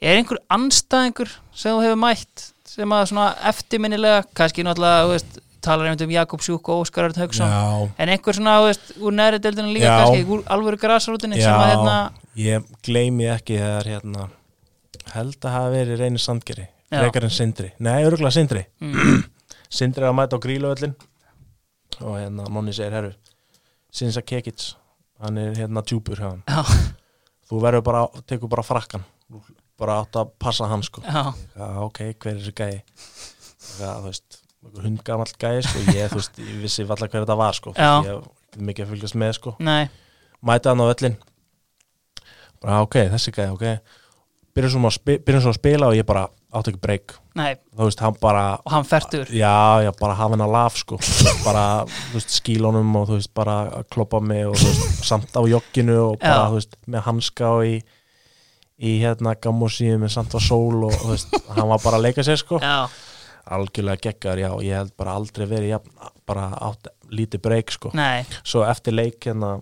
S1: er einhver anstæðingur sem þú hefur mætt sem að svona eftirminnilega, kannski náttúrulega, þú veist, talar einmitt um Jakob Sjúk og Óskar Örn Hauksson
S2: já,
S1: en einhver svona, þú veist, úr neðri deildinu líka
S2: Já.
S1: kannski, úr alvöru grasrútinni sem að hérna
S2: já, ég gleymi ekki þegar hérna held að hafa verið reynir sandgeri
S1: Já.
S2: frekar en sindri, nei öruglega sindri
S1: mm,
S2: sindri er að mæta á grílaöllin og hérna Nonni segir herru Sinsa Kekic, hann er hérna tjúpur hjá hann,
S1: já,
S2: þú verður bara tekur bara frakkan, bara átt að passa hann sko,
S1: já,
S2: já, ok, hver er þessi gæi já, þú veist hundgamall gæi sko, ég þú veist ég vissi valla hver þetta var sko
S1: Já.
S2: ég hef mikið að fylgjast með sko
S1: nei
S2: mæta hann á völlin bara "Ah, ok, þessi gæði, ok byrjum svo, að spi- byrjum svo að spila og ég bara átti ekki breyk
S1: nei,
S2: þá veist, hann bara
S1: og hann fertur
S2: já, já, bara hafa hann að laf sko Þú veist, bara, þú veist, skílunum og þú veist, bara að kloppa mig og þú veist, samt á jogginu og bara,
S1: Já.
S2: þú veist, með hanska og í í hérna gammosíum með samt á sól og þú veist, hann var bara að leika sér sko
S1: já,
S2: algjörlega geggar, já, ég held bara aldrei verið jafn, bara átt lítið breyk sko
S1: nei,
S2: svo eftir leik hérna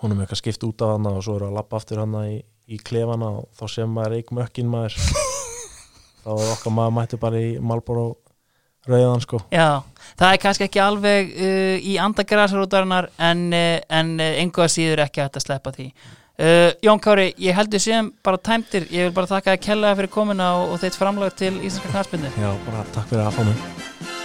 S2: hún er með eitthvað skipt út af hana og svo eru að lappa aftur hana í, í klefana og þá sem maður eik mökkin maður þá er okkar maður mættu bara í Malboro rauðan sko
S1: já það er kannski ekki alveg uh, í anda grasrútarinnar en, uh, en uh, einhvað síður ekki hægt að sleppa því Uh, Jón Kári, ég heldur séum bara tæmtir, ég vil bara þakka að kella fyrir komuna og, og þeitt framlag til Íslandska knarspindu
S2: já, bara takk fyrir að fá mig